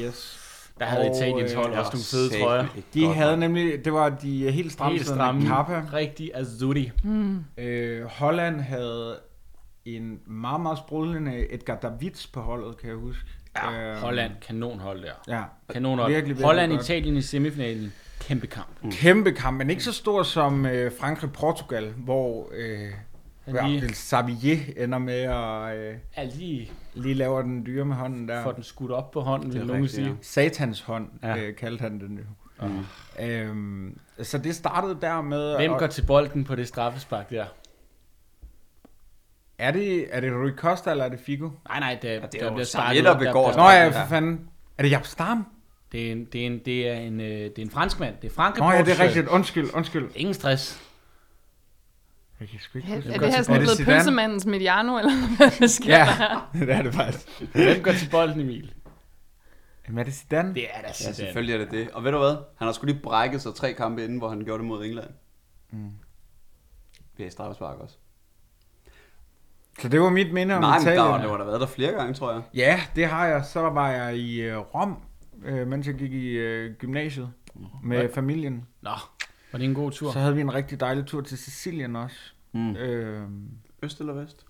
Yes. Der havde Og, Italiens hold øh, også nogle fede trøjer. De havde nemlig, det var de helt stramme Helt stramme. kappa. Rigtig azuri. Øh, Holland havde en meget, meget sprudlende Edgar Davids på holdet, kan jeg huske. Ja, Øhm, Holland, kanonhold der. Ja, Kanonhold. Virkelig, virkelig Holland, godt. Italien i semifinalen. Kæmpe kamp. Mm. kæmpe kamp, men ikke så stor som øh, Frankrig-Portugal, hvor øh, Abdel Sabier ender med at øh, Jeg lige lige lave den dyre med hånden der. får den skudt op på hånden, vil nogen rigtigt, sige. Satans hånd, Ja. ja. øh, kaldte han den jo. Øhm, så det startede der med... Hvem og- går til bolden på det straffespark der? er, det, er det Rui Costa, eller er det Figo? Nej, nej, det, det er der jo bliver Samuel, sparket der op, begår der- Nå ja, Ja. for fanden. Er det Japp Stam? Det er en, det er en, det er en, øh, det er en franskmand. Det er Franke Nå ja, det er Portugal. rigtigt. Undskyld, undskyld. Ingen stress. Jeg kan sgu ikke Er huske det det. her sådan Er det noget Zidane? pølsemandens mediano, eller hvad der sker? Ja, det er det faktisk. Hvem går til bolden, Emil? Jamen er det Zidane? Det er da Ja, Zidane. selvfølgelig er det det. Og ved du hvad? Han har sgu lige brækket sig tre kampe inden, hvor han gjorde det mod England. Mm. Det er straffespark også. Så det var mit minde om Nej, men der, Italien. var- der var der været der flere gange, tror jeg. Ja, det har jeg. Så var jeg i øh, Rom, øh, mens jeg gik i øh, gymnasiet med familien. Nå, var det en god tur? Så havde vi en rigtig dejlig tur til Sicilien også. Mm. Øh, Øst eller vest?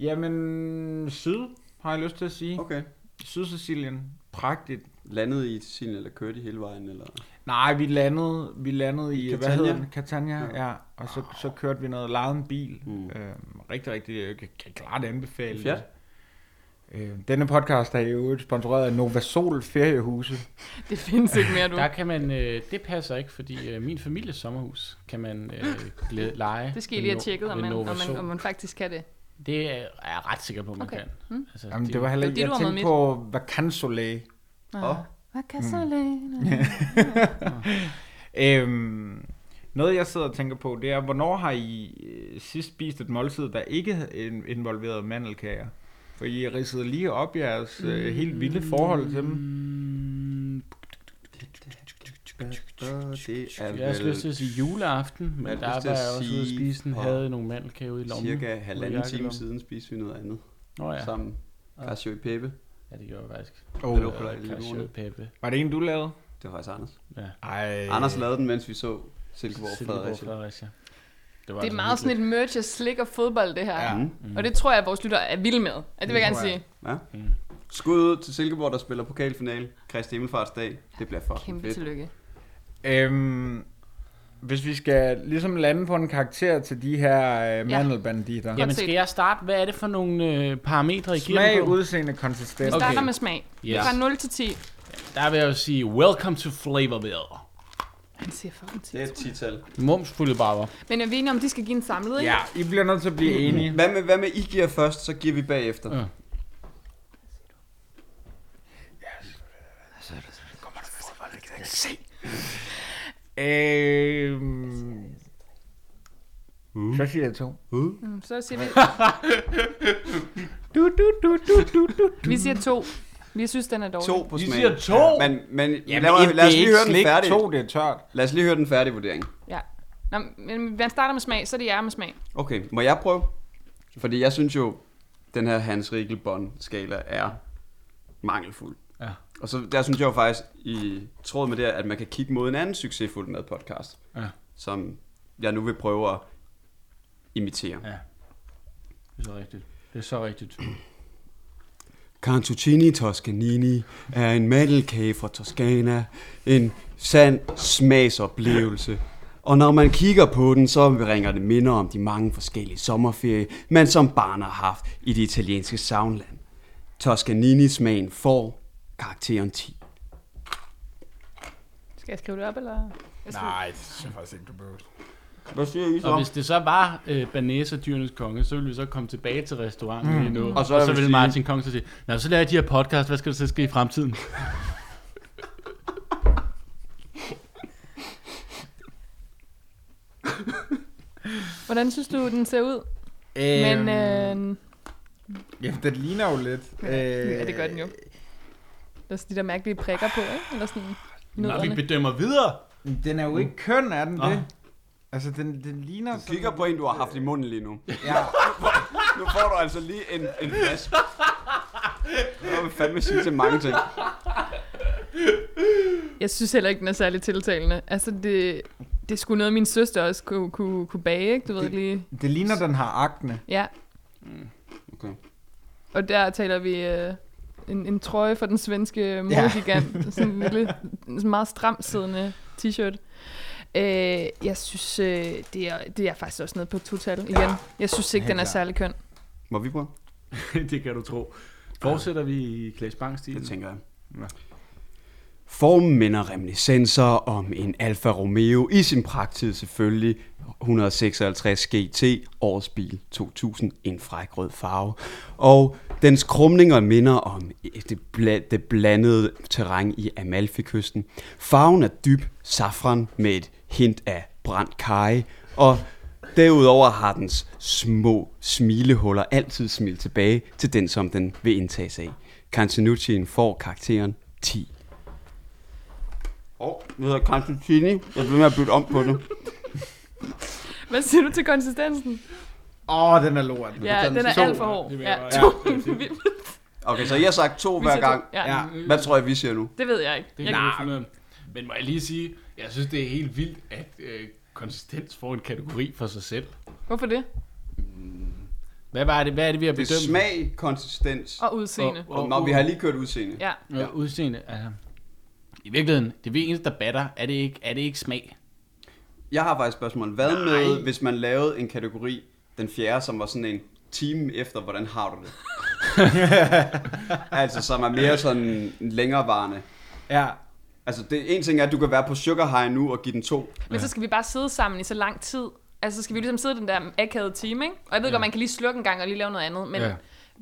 jamen, syd har jeg lyst til at sige. Okay. Okay. Syd-Sicilien. Pragtigt. Landet i Sicilien, eller kørte de hele vejen? Eller? Nej, vi landede, vi landede i, hvad Catania? hedder den? Catania, ja. ja. Og så, så kørte vi noget, lejede en bil. Mm. Mm. Øhm, rigtig, rigtig, øh, kan, kan klart anbefale. Fjat. Øh, denne podcast er i øvrigt sponsoreret af Novasol Feriehuse. Det findes ikke mere, du. Der kan man, øh, det passer ikke, fordi øh, min families sommerhus kan man øh, glæde, lege. Det skal I ved lige have No- tjekket, om ved man, om, Nova man, Sol. om man faktisk kan det. Det er jeg er ret sikker på, man Okay. kan. Mm. Altså, Jamen, det var heller det ikke, var jeg det, du var tænkte på Vacansolæge. Og? Hvad kan så længe? Øhm, noget, jeg sidder og tænker på, det er, hvornår har I øh, sidst spist et måltid, der ikke in- involverede mandelkager? For I ridsede lige op jeres øh, helt vilde forhold til dem. Mm, Det er Jeg har også lyst til vel at sige juleaften, men Jeg har der var lyst til at jeg også ude at sige spise den, for havde nogle mandelkage ude i lommen. cirka halvanden ude i time jakkelommen. siden spiste vi noget andet Nå ja. ja. sammen. Casio i Pepe. ja, det gjorde jeg faktisk. Oh. Det var på dig, lille Rune. Cashew Peppe. Var det en, du lavede? Det var faktisk Anders. Ej. Anders lavede den, mens vi så Silkeborg Silkeborg, Fredericia. Fredericia. Det altså er meget sådan et merch af slik og fodbold, det her. Ja. Mm. Og det tror jeg, at vores lytter er vilde med. Ja, det vil jeg gerne tror jeg. sige. Ja. Skud ud til Silkeborg, der spiller pokalfinale. Kristi Himmelfarts dag. Det bliver fucking Kæmpe fedt. tillykke. Øhm, hvis vi skal ligesom lande på en karakter til de her øh, mandelbanditter. Ja. Jamen, set. skal jeg starte? Hvad er det for nogle øh, parametre, I giver Smag, dem på? udseende, Vi konsistens. starter Okay. med smag. Yes. Fra 0 til 10. Der vil jeg jo sige, welcome to Flavorville. Han siger fucking 10. Det er et tital. Mumsfulde barber. Men er vi enige om, de skal give en samlet, ikke? Ja, I bliver nødt til at blive enige. Hvad med, hvad med I giver først, så giver vi bagefter. Ja. Øhm, så siger jeg to. Mm, Så siger vi... Vi siger 2. Vi synes, den er dårlig. To på I smagen. siger to? Men, men lad, mig, lad os lige høre den færdige. To, det er tørt. Lad os lige høre den færdige vurdering. Ja. Nå, men man starter med smag, så er det jer med smag. Okay, må jeg prøve? Fordi jeg synes jo, den her Hans Riegelbond skala er mangelfuld. Ja. Og så der synes jeg jo faktisk, i tråd med det, at man kan kigge mod en anden succesfuld med podcast, Ja. som jeg nu vil prøve at imitere. Ja. Det er så rigtigt. Det er så rigtigt. Cantuccini Toscanini er en mandelkage fra Toscana. En sand smagsoplevelse. Og når man kigger på den, så ringer det minder om de mange forskellige sommerferie, man som barn har haft i det italienske savnland. Toscanini-smagen får karakteren 10. Skal jeg skrive det op, eller? Nej, det synes jeg faktisk ikke, du behøver. Hvad siger I Og hvis det så var øh, Banese og dyrenes konge, så ville vi så komme tilbage til restauranten mm. lige nu. Og Og så, så og vil så jeg ville sige- Martin Kong så sige, Nå, så laver jeg de her podcast, hvad skal der så ske i fremtiden? Hvordan synes du, den ser ud? Øhm, Men øh, Jamen, den ligner jo lidt. Øh, ja, det gør den jo. Der er sådan de der mærkelige prikker på, ikke? Eller sådan Når vi nødderne. bedømmer videre. Den er jo ikke køn, er den Nå. det? Altså, den, den ligner... sådan- på en, du har haft i munden lige nu. Ja, Nu får du altså lige en, en flaske. Jeg vil fandme sige til mange ting. Jeg synes heller ikke, den er særlig tiltalende. Altså, det, det skulle noget, min søster også kunne, kunne, kunne bage, ikke? Du ved Det- lige. det ligner, den har akne. Ja, Okay. og der taler vi øh, en, en trøje for den svenske modgigant. Ja. sådan en lille, sådan meget stramt siddende t-shirt. Øh, jeg synes, øh, det, er, det er faktisk også nede på total igen. Ja. Jeg synes ikke, Helt den er klart. særlig køn. Må vi prøve? det kan du tro. Fortsætter vi i Klaas bang Det tænker jeg. Ja. Formen minder reminiscenser om en Alfa Romeo i sin pragtid selvfølgelig. 156 GT, årets bil 2000, en fræk rød farve. Og dens krumninger minder om det, bla- det blandede terræn i Amalfi-kysten. Farven er dyb safran med et hint af brændt kaj, og derudover har dens små smilehuller altid smil tilbage til den, som den vil indtages af. Cantinuccien får karakteren 10. Åh, oh, det hedder Cantuccini. Jeg bliver med at bytte om på det. Hvad siger du til konsistensen? Åh, oh, den er lort. Ja, den er to. alt for hård. Det vil jeg Ja, bare- to. Ja, Vi- vi Okay, så jeg har sagt to siger hver to. gang. Ja, Ja. Hvad tror jeg, vi siger nu? det ved jeg ikke. Det Jeg, kan vi finde ud af. Men må jeg lige sige, jeg synes, det er helt vildt, at øh, konsistens får en kategori for sig selv. hvorfor det? Hvad, var det, hvad er det, vi har Det bedømt? er smag, konsistens. Og udseende. Og, Nå, vi har lige kørt udseende. Ja, Ja. udseende, altså. I virkeligheden, det er eneste, der batter. Er det ikke, er det ikke smag? Jeg har faktisk et spørgsmål. Hvad Nej. Nej. med, hvis man lavede en kategori, den fjerde, som var sådan en time efter, hvordan har du det? altså, som er mere sådan længerevarende. Ja. Altså, det, en ting er, at du kan være på sugar high nu og give den to. men så skal vi bare sidde sammen i så lang tid. Altså, så skal vi ligesom sidde i den der akavede time, ikke? Og jeg ved Ja. godt, man kan lige slukke en gang og lige lave noget andet, men Ja.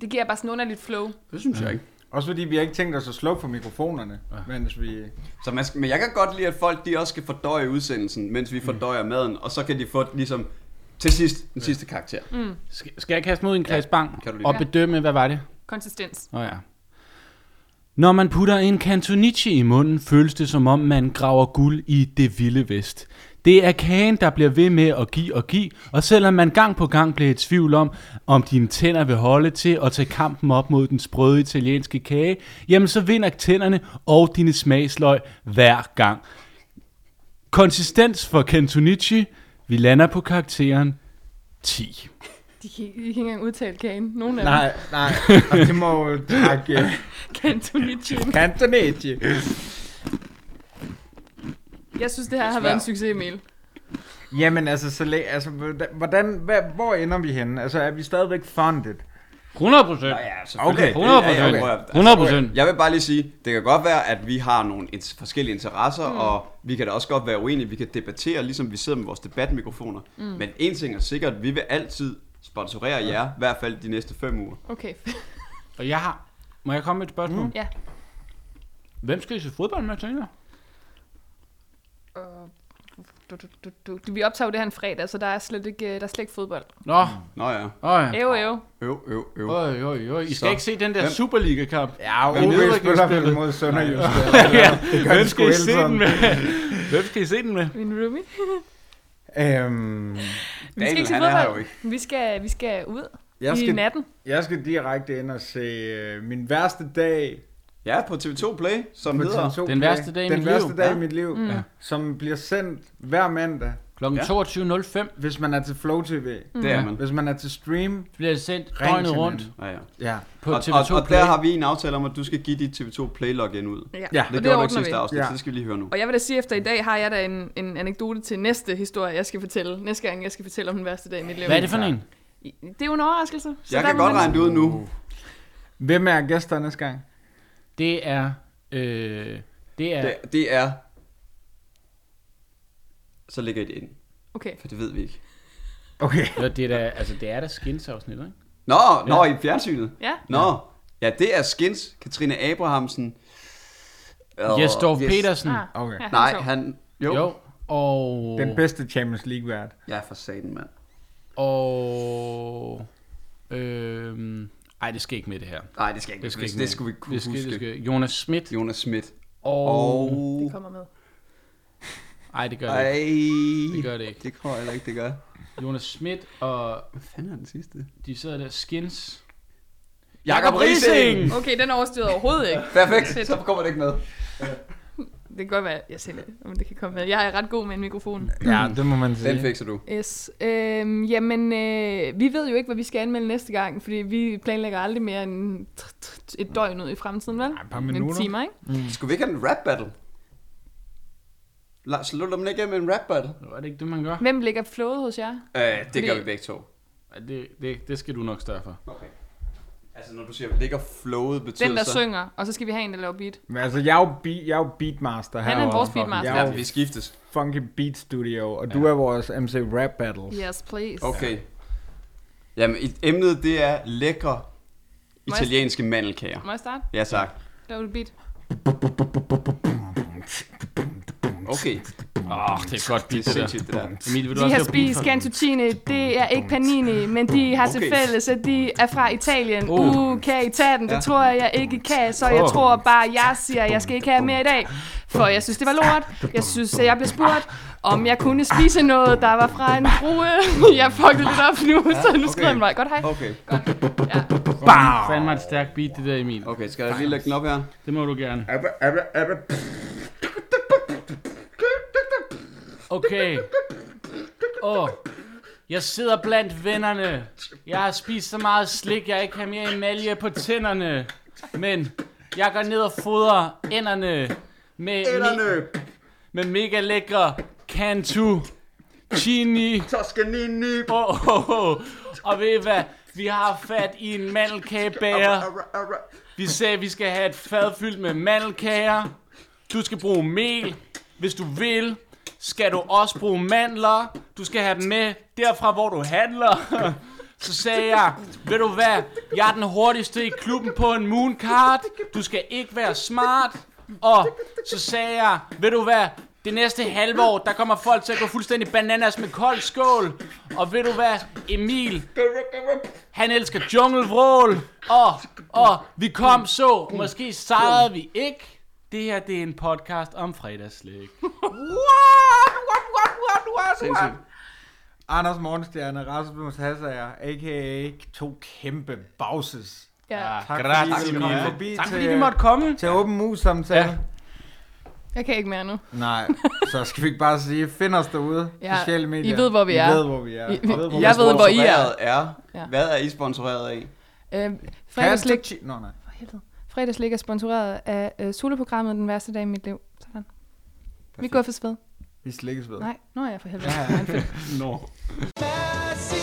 det giver bare sådan underligt flow. Det synes jeg ikke. Også fordi vi har ikke tænkt os at slukke for mikrofonerne, Ah. ja. mens vi... Så man skal, men jeg kan godt lide, at folk de også skal fordøje udsendelsen, mens Mm. vi fordøjer maden, og så kan de få ligesom til sidst den sidste karakter. Mm. Skal, skal jeg kaste mod en Klaas Bang kan du lige. og Ja. bedømme, hvad var det? Konsistens. Nå ja. Når man putter en cantonici i munden, føles det som om man graver guld i det vilde vest. Det er kagen, der bliver ved med at give og give, og selvom man gang på gang bliver i tvivl om, om dine tænder vil holde til at tage kampen op mod den sprøde italienske kage, jamen så vinder tænderne og dine smagsløg hver gang. Konsistens for cantonici, vi lander på karakteren 10. De kan, ikke- de kan ikke engang udtale kagen. Nogen af Nej, nej. Og Altså, det må jo øh, trække dem kan du lige tjene. kantonetje. Jeg synes, det her har været en succes, Emil. Jamen altså, så læ- altså hvordan, hvordan, hvad, hvor ender vi henne? Altså, er vi stadigvæk funded? 100 procent. Okay. 100 Ja, ja, procent. okay. 100 procent. Jeg vil bare lige sige, det kan godt være, at vi har nogle int- forskellige interesser, mm. og vi kan da også godt være uenige, vi kan debattere, ligesom vi sidder med vores debatmikrofoner. Mm. Men en ting er sikkert, vi vil altid sponsorere jer, i hvert fald de næste fem uger. Okay. Og jeg har... Må jeg komme med et spørgsmål? Mm. Ja. Hvem skal I se fodbold med, tænker jeg? Og- Du, du, du, du. Vi optager jo det her en fredag, så der er slet ikke, øh, der er slet ikke fodbold. Nå, Nå ja, øj. Æv, æv. øv, øv, øv. Øj, øj, øj. I skal Så. ikke se den der Hvem? Superliga-kamp. Ja, Men OB spiller vel nedrykningsspillet. mod Sønderjysk. ja. gør Hvem de skal sgu I hele se tiden. den med? Hvem skal I se den med? Min roomie. Øhm, Vi skal Daniel, ikke se han er her jo fodbold. Vi skal, vi skal ud jeg, i skal, natten. jeg skal direkte ind og se øh, min værste dag Ja, på TV2 Play, som på hedder... TV2 Den Play. værste dag i den mit værste liv. Dag Ja. i mit liv Mm. Ja. som bliver sendt hver mandag, Klokken Ja. 22.05 hvis man er til Flow TV. Det er man. Hvis man er til stream, bliver det sendt Ring døgnet til rundt manden. Ja, ja. ja. på og, TV2 og, og Play. der har vi en aftale om, at du skal give dit TV2 Play login ud. Ja, Ja, og Det, det gjorde du ikke ordner sidste vi. afsnit, Ja. ja. så det skal vi lige høre nu. Og jeg vil da sige, efter i dag har jeg da en, en anekdote til næste historie, jeg skal fortælle. Næste gang, jeg skal fortælle om den værste dag i mit liv. Hvad er det for en? Det er jo en overraskelse. Så Jeg der kan må godt man- regne det ud nu. Hvem er gæster næste gang? Det er... Øh, det er... Det, det er... Så lægger I det ind, Okay. Mm, for det ved vi ikke. Okay. Nå, det er da, altså, det er da skinsafsnit, ikke? Nå, nå i fjernsynet. Ja. Nå, ja, det er Skins, Katrine Abrahamsen. Og- Jes Dorf Petersen. Ah, Okay. ja, Nej, sjov. han... Jo. Jo. jo. Og... Den bedste Champions League-vært. Ja, for satan, mand. Og... Øhm, ej, det skal ikke med det her. Nej, det skal ikke. Det skal ikke det med. skulle vi kunne Det skal, huske. det skal. Jonas Schmidt. Jonas Schmidt. Og... Og... kommer med. Ej, det gør det Ej, ikke. Det gør det ikke. Det tror jeg heller ikke, det gør. Jonas Schmidt og... Hvad fanden er den sidste? De sidder der, Skins. Jakob Rising! Okay, den overstyrede overhovedet ikke. Perfekt, Fedt. så kommer det ikke med. Det kan godt være, jeg selv om det kan komme med. Jeg er ret god med en mikrofon. Ja, det må man Den fikser du. Yes. Øhm, jamen, øh, vi ved jo ikke, hvad vi skal anmelde næste gang, fordi vi planlægger aldrig mere end tr- tr- et døgn ud i fremtiden, vel? Et par En minutter. timer, ikke? Skulle vi ikke have en rap battle? La- Slutter man ikke af med en rap battle? Nå, Er det ikke det, man gør? Hvem ligger flået hos jer? Øh, det gør Det- vi begge to. Ej, Det, det, det skal du nok større for. Okay. Altså, når du siger, ligger flowet, betyder Den, der så... synger, og så skal vi have en, der laver beat. Men altså, jeg er jo, be- jeg er jo beatmaster her. Han er vores beatmaster. Jeg er Ja, jo vi skiftes. funky beat studio, og du er vores MC Rap Battles. Yes, please. Okay. Jamen, et- emnet det er lækre italienske mandelkager. Må jeg starte? Ja, tak. Laver du beat? Okay. Åh, oh, det er godt Det er beat, det der. sindssygt, det der. Emil, vil du De også har have spist cantuccine, det er ikke panini, men de har til Okay. fælles, at de er fra Italien. Uh. Uh, kan I tage den? Ja. Det tror jeg, jeg ikke kan, så jeg tror bare, jeg siger, at jeg skal ikke have mere i dag. For jeg synes, det var lort. Jeg synes, at jeg blev spurgt, om jeg kunne spise noget, der var fra en brue. Jeg fuckede lidt op nu, så nu skrider okay. han mig. Godt, hej. Okay. Fandme et stærkt beat, det der, Emil. Okay, skal jeg lige lægge den op her? Det må du gerne. Okay. Åh, jeg sidder blandt vennerne. Jeg har spist så meget slik, jeg ikke har mere emalje på tænderne. Men jeg går ned og fodrer ænderne med, me- med mega lækre cantu. Chini. Toscanini. Oh, oh, oh. Og ved I hvad? Vi har fat i en mandelkagebager. Vi sagde, at vi skal have et fad fyldt med mandelkager. Du skal bruge mel, hvis du vil. Skal du også bruge mandler? Du skal have dem med derfra, hvor du handler. Så sagde jeg, ved du hvad, jeg er den hurtigste i klubben på en mooncard. Du skal ikke være smart. Og så sagde jeg, ved du hvad, det næste halve år, der kommer folk til at gå fuldstændig bananas med kold skål. Og ved du hvad, Emil, han elsker junglevrål, og, og vi kom så, måske sejrede vi ikke. Det her, det er en podcast om fredagslæg. Sindssygt. Anders Morgenstjerne, Rasmus Hassager, a.k.a. to kæmpe bauses. Ja. Tak Grazie, fordi I kom Mia. forbi Tak til, øh, fordi vi måtte komme. til åben mus samtale. Ja. Ja. Jeg kan ikke mere nu. Øh, Nej, så skal vi ikke bare sige, find os derude, Ja, ja. sociale medier. I ved, hvor vi er. I ved, hvor vi er. I- I ved, hvor Jeg vi ved, hvor I er. Sponsoreret Ja. er. Hvad er I sponsoreret af? Øh, er. fredagslik, Hashtag- Nå, nej. fredagslik er sponsoreret af øh, soloprogrammet Den værste dag i mit liv. Sådan. Vi Perfekt. går for sved. Vi slikkes ved. Nej, nu er jeg for helvede. Ja. Nå. Mads i